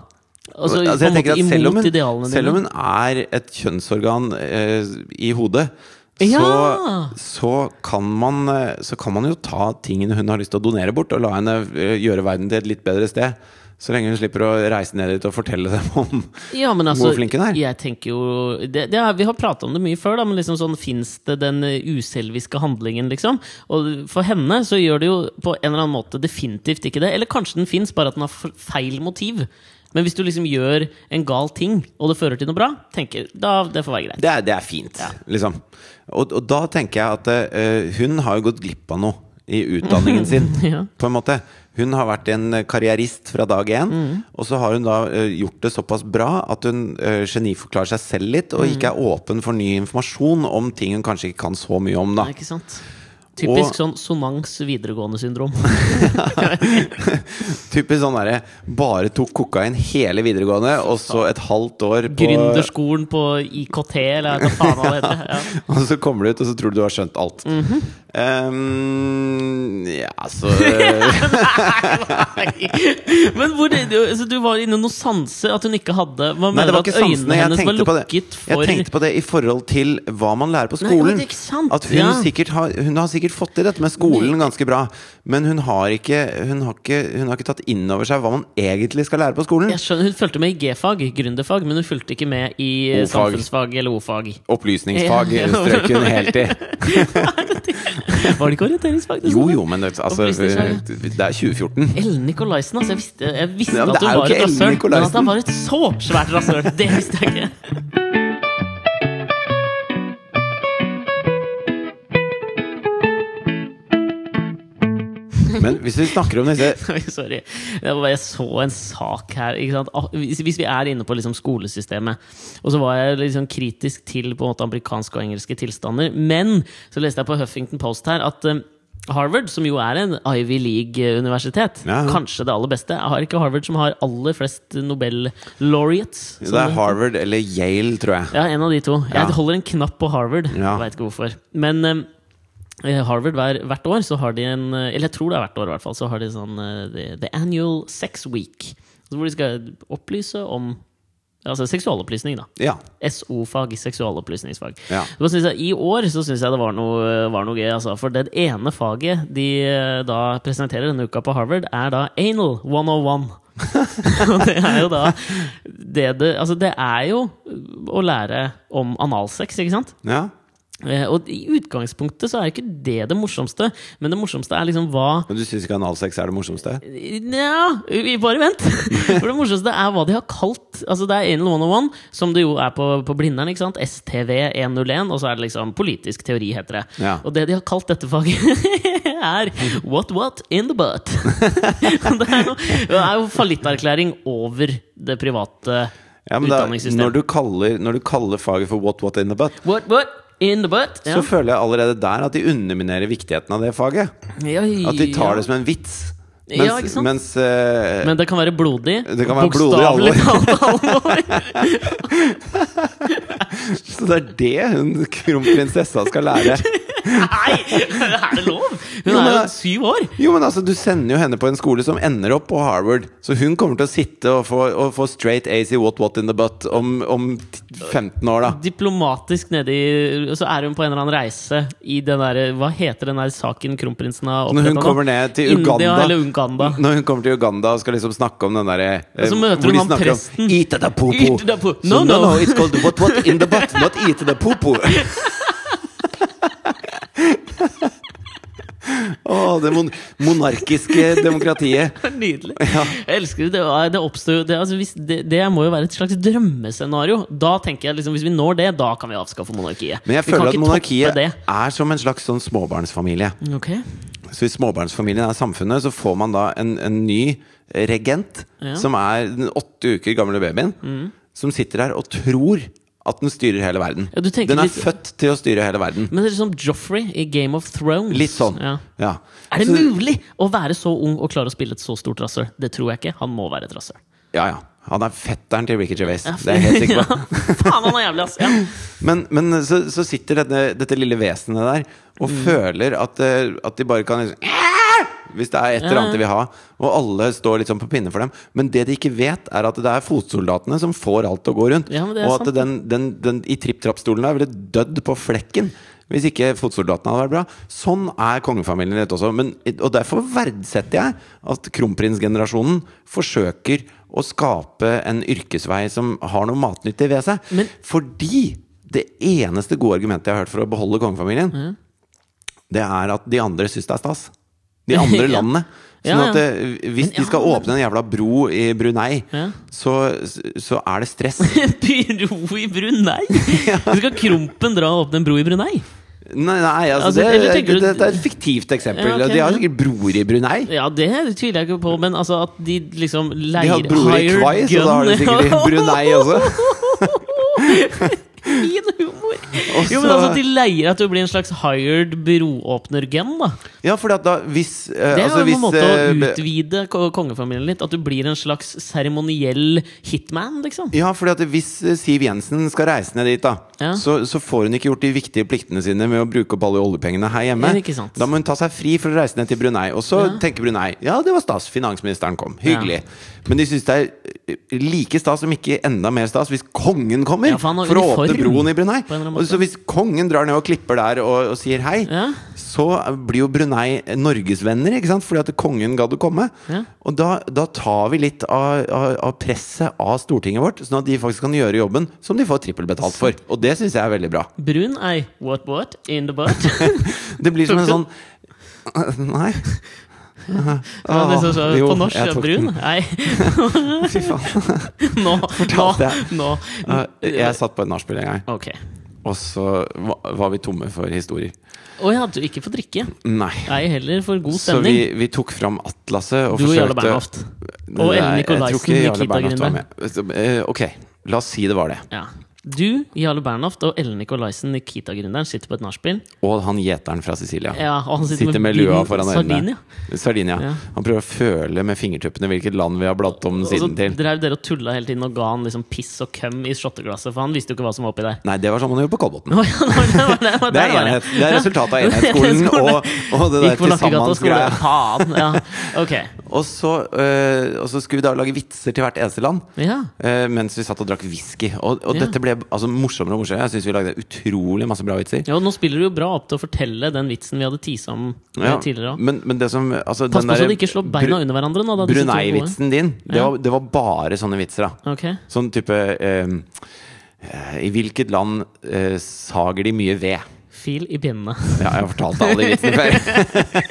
Speaker 2: Altså,
Speaker 1: altså,
Speaker 2: på en
Speaker 1: jeg tenker
Speaker 2: måte
Speaker 1: at selv, om
Speaker 2: imot
Speaker 1: hun,
Speaker 2: idealene
Speaker 1: selv om
Speaker 2: dine.
Speaker 1: hun er et kjønnsorgan eh, i hodet, så,
Speaker 2: Ja.
Speaker 1: så, kan man, eh, så kan man jo ta tingene hun har lyst til å donere bort, og la henne eh, gjøre verden til et litt bedre sted. Så lenge hun slipper å reise ned dit og fortelle dem om
Speaker 2: Ja, men altså,
Speaker 1: hvor flink hun er.
Speaker 2: Jeg tenker jo det, det er, Vi har prata om det mye før, da, men liksom sånn fins det den eh, uselviske handlingen, liksom? Og for henne så gjør det jo på en eller annen måte definitivt ikke det. Eller kanskje den fins, bare at den har f- feil motiv. Men hvis du liksom gjør en gal ting, og det fører til noe bra, tenker da det får være greit.
Speaker 1: Det er, det er fint, liksom. Og, og da tenker jeg at eh, hun har jo gått glipp av noe i utdanningen sin,
Speaker 2: Ja.
Speaker 1: på en måte. Hun har vært en eh, karrierist fra dag én, og så har hun da eh, gjort det såpass bra at hun eh, geniforklarer seg selv litt, og ikke er åpen for ny informasjon om ting hun kanskje ikke kan så mye om, da.
Speaker 2: Ikke sant? Typisk
Speaker 1: Og-
Speaker 2: sånn sonans videregående syndrom.
Speaker 1: Typisk sånn derre bare tok kokain hele videregående, og så et halvt år på
Speaker 2: Gründerskolen på IKT, eller hva faen hva det heter. Ja.
Speaker 1: Og så kommer du ut, og så tror du du har skjønt alt. Ehm, ja, så
Speaker 2: Nei. Men hvor, du, altså, du var inne noen sanser at hun ikke hadde Hva
Speaker 1: Nei,
Speaker 2: mener
Speaker 1: det
Speaker 2: du
Speaker 1: var
Speaker 2: at
Speaker 1: ikke
Speaker 2: øynene
Speaker 1: sansene. Jeg
Speaker 2: hennes var
Speaker 1: tenkte, på det.
Speaker 2: lukket for
Speaker 1: jeg tenkte på det i forhold til hva man lærer på
Speaker 2: Nei, ja,
Speaker 1: skolen.
Speaker 2: det er ikke sant.
Speaker 1: At hun,
Speaker 2: Ja.
Speaker 1: sikkert har, hun har sikkert fått til dette med skolen ganske bra, men hun har ikke, hun har ikke, hun har ikke tatt inn over seg hva man egentlig skal lære på skolen.
Speaker 2: Jeg skjønner, Hun fulgte med i G-fag, gründerfag, men hun fulgte ikke med i eh,
Speaker 1: O-fag.
Speaker 2: samfunnsfag eller O-fag.
Speaker 1: Opplysningsfag
Speaker 2: Ja.
Speaker 1: strøk hun helt i.
Speaker 2: Var det ikke orienteringsfag? det
Speaker 1: Jo
Speaker 2: sto der?
Speaker 1: jo, men det, altså,
Speaker 2: Opplysningsfag,
Speaker 1: det er 2014.
Speaker 2: Ellen Nikolaisen, altså. Jeg visste, jeg visste
Speaker 1: Ja, men
Speaker 2: at
Speaker 1: det
Speaker 2: hun
Speaker 1: er jo
Speaker 2: var
Speaker 1: ikke
Speaker 2: et
Speaker 1: Ellen
Speaker 2: rasshøl. Men at
Speaker 1: Nikolaisen.
Speaker 2: han var et så svært rasshøl, det visste jeg ikke.
Speaker 1: Men hvis vi snakker om disse
Speaker 2: Oi, Sorry. Det var bare, jeg så en sak her. Ikke sant? Ah, Hvis, hvis vi er inne på liksom skolesystemet Og så var jeg liksom kritisk til på en måte amerikanske og engelske tilstander. Men så leste jeg på Huffington Post her at eh, Harvard, som jo er en Ivy League-universitet,
Speaker 1: Ja, ja.
Speaker 2: kanskje det aller beste Har ikke Harvard som har aller flest Nobel-laureates?
Speaker 1: Det er Harvard eller Yale, tror jeg.
Speaker 2: Ja, en av de to.
Speaker 1: Ja.
Speaker 2: Jeg holder en knapp på Harvard.
Speaker 1: Ja.
Speaker 2: Jeg vet ikke hvorfor. Men eh, Harvard hver, hvert år så har de en eh, Eller jeg tror det er hvert år, i hvert fall. Så har de sånn eh, the, the Annual Sex Week. Altså Hvor de skal opplyse om Altså seksualopplysning, da.
Speaker 1: Ja.
Speaker 2: SO-fag, seksualopplysningsfag.
Speaker 1: Ja.
Speaker 2: Så synes jeg, I år så syns jeg det var noe, var noe gøy, altså. For det ene faget de eh, da presenterer denne uka på Harvard, er da anal 101. Og det er jo da det det Altså, det er jo å lære om analsex, ikke sant?
Speaker 1: ja.
Speaker 2: Eh, Og i utgangspunktet så er ikke det det morsomste, men det morsomste er liksom hva
Speaker 1: Men du syns ikke analsex er det morsomste?
Speaker 2: Nja, vi- bare vent. For det morsomste er hva de har kalt Altså Det er Anal 101, som det jo er på, på Blindern. ikke sant? E STV101, og så er det liksom politisk teori, heter det.
Speaker 1: Ja.
Speaker 2: Og det de har kalt dette faget, er What What in the Butt. Og det, er jo, det er jo fallitterklæring over det private
Speaker 1: Ja, men da,
Speaker 2: utdanningssystemet.
Speaker 1: når, du kaller, når du kaller faget for what what in the butt,
Speaker 2: What What in the Butt.
Speaker 1: så føler jeg allerede der at de underminerer viktigheten av det faget. At de tar det som en vits.
Speaker 2: Ja,
Speaker 1: Mens,
Speaker 2: ikke sant?
Speaker 1: mens eh,
Speaker 2: Men det kan være blodig.
Speaker 1: Det kan være blodig alvor.
Speaker 2: bokstavelig talt alvor.
Speaker 1: Så det er det hun kronprinsessa skal lære.
Speaker 2: Nei, er det lov? Hun
Speaker 1: Jo,
Speaker 2: er jo
Speaker 1: men-
Speaker 2: syv år.
Speaker 1: Jo, men altså, Du sender jo henne på en skole som ender opp på Harvard, så hun kommer til å sitte og få, og få straight A's i what what in the butt om, om 15 år, da.
Speaker 2: Diplomatisk nedi Så er hun på en eller annen reise i den derre Hva heter den der saken kronprinsen har
Speaker 1: Når
Speaker 2: opprettet
Speaker 1: hun
Speaker 2: nå?
Speaker 1: kommer ned til Uganda
Speaker 2: India eller Uganda.
Speaker 1: Når hun kommer til Uganda og skal liksom snakke om den derre eh,
Speaker 2: så møter hun
Speaker 1: hvor de
Speaker 2: han
Speaker 1: snakker om,
Speaker 2: presten.
Speaker 1: Eat the
Speaker 2: Eat the
Speaker 1: poo-poo.
Speaker 2: poo-
Speaker 1: So,
Speaker 2: No,
Speaker 1: no,
Speaker 2: no.
Speaker 1: no, it's called what what in the butt, not eat the poo-poo. Å, det mon monarkiske demokratiet.
Speaker 2: Nydelig. Jeg elsker det. Det var- Det oppstår jo det, altså, hvis det, det må jo være et slags drømmescenario. Da tenker jeg liksom Hvis vi når det, da kan vi avskaffe monarkiet.
Speaker 1: Men jeg
Speaker 2: vi kan
Speaker 1: føler at
Speaker 2: ikke
Speaker 1: monarkiet
Speaker 2: toppe det.
Speaker 1: er som en slags sånn småbarnsfamilie.
Speaker 2: Ok
Speaker 1: Så hvis småbarnsfamilien er samfunnet, så får man da en, en ny regent,
Speaker 2: Ja. Mm.
Speaker 1: som er den åtte uker gamle babyen, som sitter der og tror at den styrer hele verden.
Speaker 2: Ja, du tenker
Speaker 1: den er
Speaker 2: litt-
Speaker 1: født til å styre hele verden.
Speaker 2: Men det er liksom Joffrey i Game of Thrones.
Speaker 1: Litt sånn.
Speaker 2: Ja.
Speaker 1: Ja.
Speaker 2: Er det
Speaker 1: Så-
Speaker 2: mulig å være så ung og klare å spille et så stort rasshøl? Det tror jeg ikke. Han må være et rasshøl.
Speaker 1: Ja, ja. Han er fetteren til Ricky Gervais. Det er jeg helt sikker på.
Speaker 2: Ja, faen, han er jævlig, ass! Ja.
Speaker 1: Men, men så, så sitter dette, dette lille vesenet der og
Speaker 2: Mm.
Speaker 1: føler at, eh, at de bare kan liksom, "Æ!" Hvis det er et eller annet de vil ha, og alle står litt sånn på pinne for dem. Men det de ikke vet, er at det er fotsoldatene som får alt til å gå rundt.
Speaker 2: Ja, men det er
Speaker 1: og at
Speaker 2: sant.
Speaker 1: den, den, den i tripp-trapp-stolen der ville dødd på flekken. Hvis ikke fotsoldatene hadde vært bra. Sånn er kongefamilien litt også. Men, og derfor verdsetter jeg at kronprinsgenerasjonen forsøker å skape en yrkesvei som har noe matnyttig ved seg.
Speaker 2: Men-
Speaker 1: Fordi det eneste gode argumentet jeg har hørt for å beholde kongefamilien, det er at de andre syns det er stas. De andre
Speaker 2: Ja.
Speaker 1: landene. Sånn
Speaker 2: Ja,
Speaker 1: at eh, hvis
Speaker 2: ja,
Speaker 1: de skal
Speaker 2: men-
Speaker 1: åpne en jævla bro i Brunei,
Speaker 2: Ja.
Speaker 1: så, så er det stress.
Speaker 2: Bro i Brunei? Du skal Krompen dra og åpne en bro i Brunei?
Speaker 1: Nei, nei altså,
Speaker 2: Altså,
Speaker 1: det,
Speaker 2: eller tenker du-
Speaker 1: det, det er et fiktivt eksempel.
Speaker 2: Ja, ok,
Speaker 1: De
Speaker 2: ja.
Speaker 1: har sikkert broer i Brunei.
Speaker 2: Ja, det tviler jeg ikke på, men altså at de liksom
Speaker 1: De
Speaker 2: leier
Speaker 1: har broer i
Speaker 2: hired
Speaker 1: Kvai, så da har de
Speaker 2: gun.
Speaker 1: sikkert i Brunei også.
Speaker 2: fin humor!
Speaker 1: Og
Speaker 2: Jo, men
Speaker 1: så-
Speaker 2: altså, De leier at du blir en slags hired broåpner-gen. da
Speaker 1: Ja, fordi at da hvis eh,
Speaker 2: Det er
Speaker 1: altså,
Speaker 2: jo
Speaker 1: hvis,
Speaker 2: en måte å
Speaker 1: eh, be-
Speaker 2: utvide ko- kongefamilien litt. At du blir en slags seremoniell hitman, liksom.
Speaker 1: Ja, fordi at hvis eh, Siv Jensen skal reise ned dit, da,
Speaker 2: Ja.
Speaker 1: så, så får hun ikke gjort de viktige pliktene sine med å bruke opp alle oljepengene her hjemme.
Speaker 2: Ja, ikke sant.
Speaker 1: Da må hun ta seg fri for å reise ned til Brunei. Og så tenker Brunei ja, det var stas, finansministeren kom. Hyggelig. Men de syns det er eh, like stas, om ikke enda mer stas, hvis kongen kommer
Speaker 2: Ja, for han har
Speaker 1: for å åpne
Speaker 2: uniform,
Speaker 1: broen i Brunei.
Speaker 2: på en eller annen
Speaker 1: Og så hvis kongen drar ned og klipper der og, og sier hei,
Speaker 2: Ja.
Speaker 1: så blir jo Brunei norgesvenner, ikke sant? Fordi at kongen gadd å komme.
Speaker 2: Ja.
Speaker 1: Og da, da tar vi litt av, av, av presset av Stortinget vårt, sånn at de faktisk kan gjøre jobben som de får trippelbetalt for. Og det syns jeg er veldig bra.
Speaker 2: Brun ei what what in the butt.
Speaker 1: Det blir som en sånn Nei.
Speaker 2: Ja, det er så, så,
Speaker 1: Åh, jo,
Speaker 2: på norsk
Speaker 1: jeg tok
Speaker 2: brun?
Speaker 1: den.
Speaker 2: Nei.
Speaker 1: Fy faen.
Speaker 2: Nå. Nå.
Speaker 1: Fortalte jeg.
Speaker 2: nå.
Speaker 1: Uh, Jeg satt på et nachspiel en gang,
Speaker 2: Ok.
Speaker 1: og så va- var vi tomme for historier.
Speaker 2: Og jeg hadde jo ikke fått drikke.
Speaker 1: Nei.
Speaker 2: Ei heller for god
Speaker 1: Så
Speaker 2: stemning.
Speaker 1: vi, vi tok fram atlaset og
Speaker 2: Du og
Speaker 1: forsøkte
Speaker 2: Jarle Bernhoft. Og
Speaker 1: Nei,
Speaker 2: Ellen
Speaker 1: jeg tror
Speaker 2: Nikolaisen,
Speaker 1: ikke Jarle
Speaker 2: Nikita
Speaker 1: Bernhoft var
Speaker 2: Grinde.
Speaker 1: med. Så, eh, Ok, la oss si det var det.
Speaker 2: Ja. Du, Jarle Bernhoft og Ellen Nikolaisen, Nikita-gründeren, sitter på et nachspiel.
Speaker 1: Og han gjeteren fra Sicilia.
Speaker 2: Ja, og han sitter,
Speaker 1: Sitter med lua
Speaker 2: bilen
Speaker 1: foran øynene.
Speaker 2: Sardinia.
Speaker 1: Sardinia.
Speaker 2: Ja. Altså,
Speaker 1: Han prøver å føle med fingertuppene hvilket land vi har bladd om
Speaker 2: Og så
Speaker 1: siden til.
Speaker 2: drev dere og tulla hele tiden og ga han liksom piss og køm i shotteglasset, for han visste jo ikke hva som var oppi der.
Speaker 1: Nei, det var sånn man gjorde på Kolbotn.
Speaker 2: Nå, ja, nå, det, var det,
Speaker 1: Det
Speaker 2: der
Speaker 1: er,
Speaker 2: var det.
Speaker 1: enhet, det er resultatet av enhetsskolen og, og det der
Speaker 2: Gikk på
Speaker 1: til
Speaker 2: Lakkegata og skole.
Speaker 1: sammens-greia.
Speaker 2: Faen! Ja. Ok.
Speaker 1: Og, så, øh, og så skulle vi da lage vitser til hvert eneste land.
Speaker 2: Ja.
Speaker 1: øh, mens vi satt og drakk whisky. Og, og
Speaker 2: Ja.
Speaker 1: dette ble altså, morsommere og morsommere. Jeg syns vi lagde utrolig masse bra vitser.
Speaker 2: ja, og nå spiller du jo bra opp til å fortelle den vitsen vi hadde tisa om eh,
Speaker 1: Ja,
Speaker 2: tidligere òg.
Speaker 1: Men, men det som altså,
Speaker 2: Pass på
Speaker 1: den
Speaker 2: så
Speaker 1: der
Speaker 2: du ikke slår beina under hverandre. nå, da, disse to gode.
Speaker 1: Brunei-vitsen din, det var, det var bare sånne vitser, da.
Speaker 2: Ok.
Speaker 1: Sånn type ehm, eh, I hvilket land eh, sager de mye ved?
Speaker 2: Fil i pinnene.
Speaker 1: Ja, jeg har fortalt alle de vitsene før.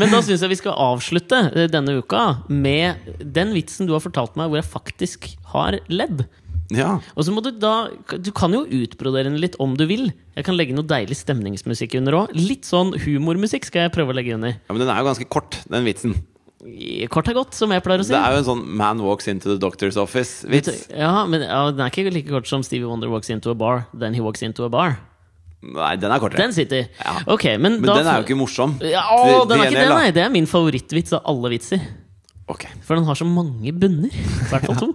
Speaker 2: Men da syns jeg vi skal avslutte eh, denne uka med den vitsen du har fortalt meg hvor jeg faktisk har ledd.
Speaker 1: Ja,
Speaker 2: Og så må du da Du kan jo utbrodere den litt om du vil. Jeg kan legge noe deilig stemningsmusikk under òg. Litt sånn humormusikk skal jeg prøve å legge under.
Speaker 1: ja, Men den er jo ganske kort, den vitsen.
Speaker 2: I- Kort er godt, som jeg pleier å si.
Speaker 1: Det er jo en sånn 'man walks into the doctor's office'-vits.
Speaker 2: Ja, men ja, Den er ikke like kort som Stevie Wonder walks into a bar. Then he walks into a bar.
Speaker 1: Nei, den er kortere.
Speaker 2: Den sitter.
Speaker 1: Ja.
Speaker 2: Ok, men,
Speaker 1: men
Speaker 2: da
Speaker 1: den er jo ikke morsom.
Speaker 2: ja, å,
Speaker 1: Til-
Speaker 2: den
Speaker 1: til
Speaker 2: er ikke
Speaker 1: gjengjeld,
Speaker 2: det,
Speaker 1: da.
Speaker 2: nei! Det er min favorittvits av alle vitser.
Speaker 1: Ok.
Speaker 2: For den har så mange bunner. I hvert fall to.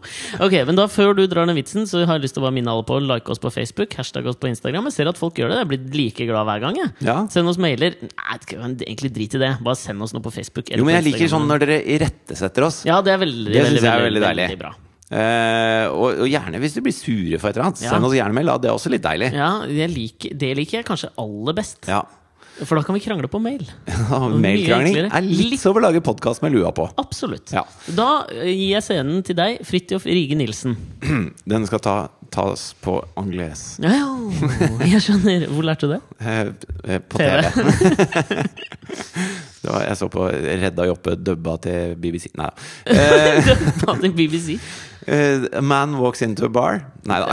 Speaker 2: Ok, men da Før du drar den vitsen, Så har jeg lyst til å bare minne alle på å like oss på Facebook. Hashtag oss på Instagram. Jeg ser at folk gjør det. Jeg blir like glad hver gang. Jeg.
Speaker 1: Ja.
Speaker 2: Send oss mailer. Nei, det kan- egentlig drit i det. Bare send oss noe på Facebook. eller
Speaker 1: Jo, men
Speaker 2: på
Speaker 1: jeg liker
Speaker 2: Instagram.
Speaker 1: sånn når dere irettesetter oss.
Speaker 2: Ja, det er veldig,
Speaker 1: Det
Speaker 2: veldig,
Speaker 1: synes jeg er
Speaker 2: veldig,
Speaker 1: veldig deilig.
Speaker 2: bra.
Speaker 1: Eh, og, og gjerne hvis du blir sure for et eller annet.
Speaker 2: Ja.
Speaker 1: Send oss gjerne mail, da. Det er også litt deilig.
Speaker 2: Ja, jeg liker, Det liker jeg kanskje aller best.
Speaker 1: Ja.
Speaker 2: For da kan vi krangle på mail.
Speaker 1: Mailkrangling
Speaker 2: enklere.
Speaker 1: er litt
Speaker 2: Litt-
Speaker 1: som å lage podkast med lua på.
Speaker 2: Absolutt.
Speaker 1: Ja.
Speaker 2: Da eh, gir jeg scenen til deg, Fridtjof Rige Nilsen.
Speaker 1: Den skal ta, tas på angles.
Speaker 2: Ja, ja, jeg skjønner. Hvor lærte du det?
Speaker 1: Eh, eh, på
Speaker 2: TV.
Speaker 1: TV. det var, jeg så på Redda Joppe dubba til BBC. Nei da.
Speaker 2: På BBC.
Speaker 1: Eh, a man walks into a bar. Nei da.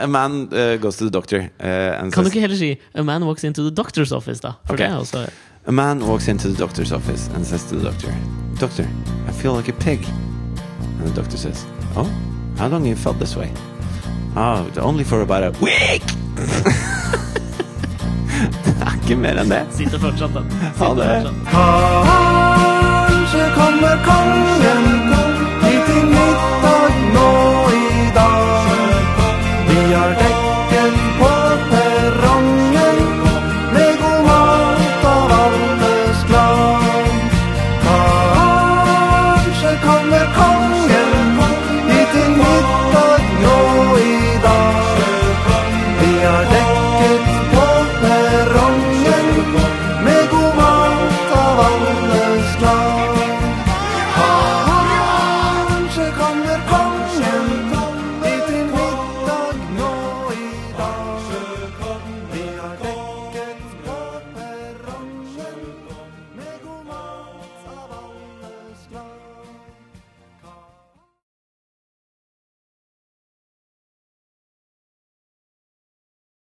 Speaker 1: a man eh, goes to the doctor. eh, and
Speaker 2: Kan du
Speaker 1: says,
Speaker 2: ikke heller si 'A man walks into the doctor's office', da? For
Speaker 1: Ok.
Speaker 2: det er også
Speaker 1: A man walks into the doctor's office and says to the doctor, Doctor, I feel like a pig. And the doctor says, Oh, how long you felt this way? Oh, only for about a week! det er ikke mer enn det.
Speaker 2: Sitter fortsatt, da.
Speaker 1: Ha
Speaker 2: Sitter
Speaker 1: det.
Speaker 2: fortsatt.
Speaker 3: Kanskje kommer kongen hit i middag nå.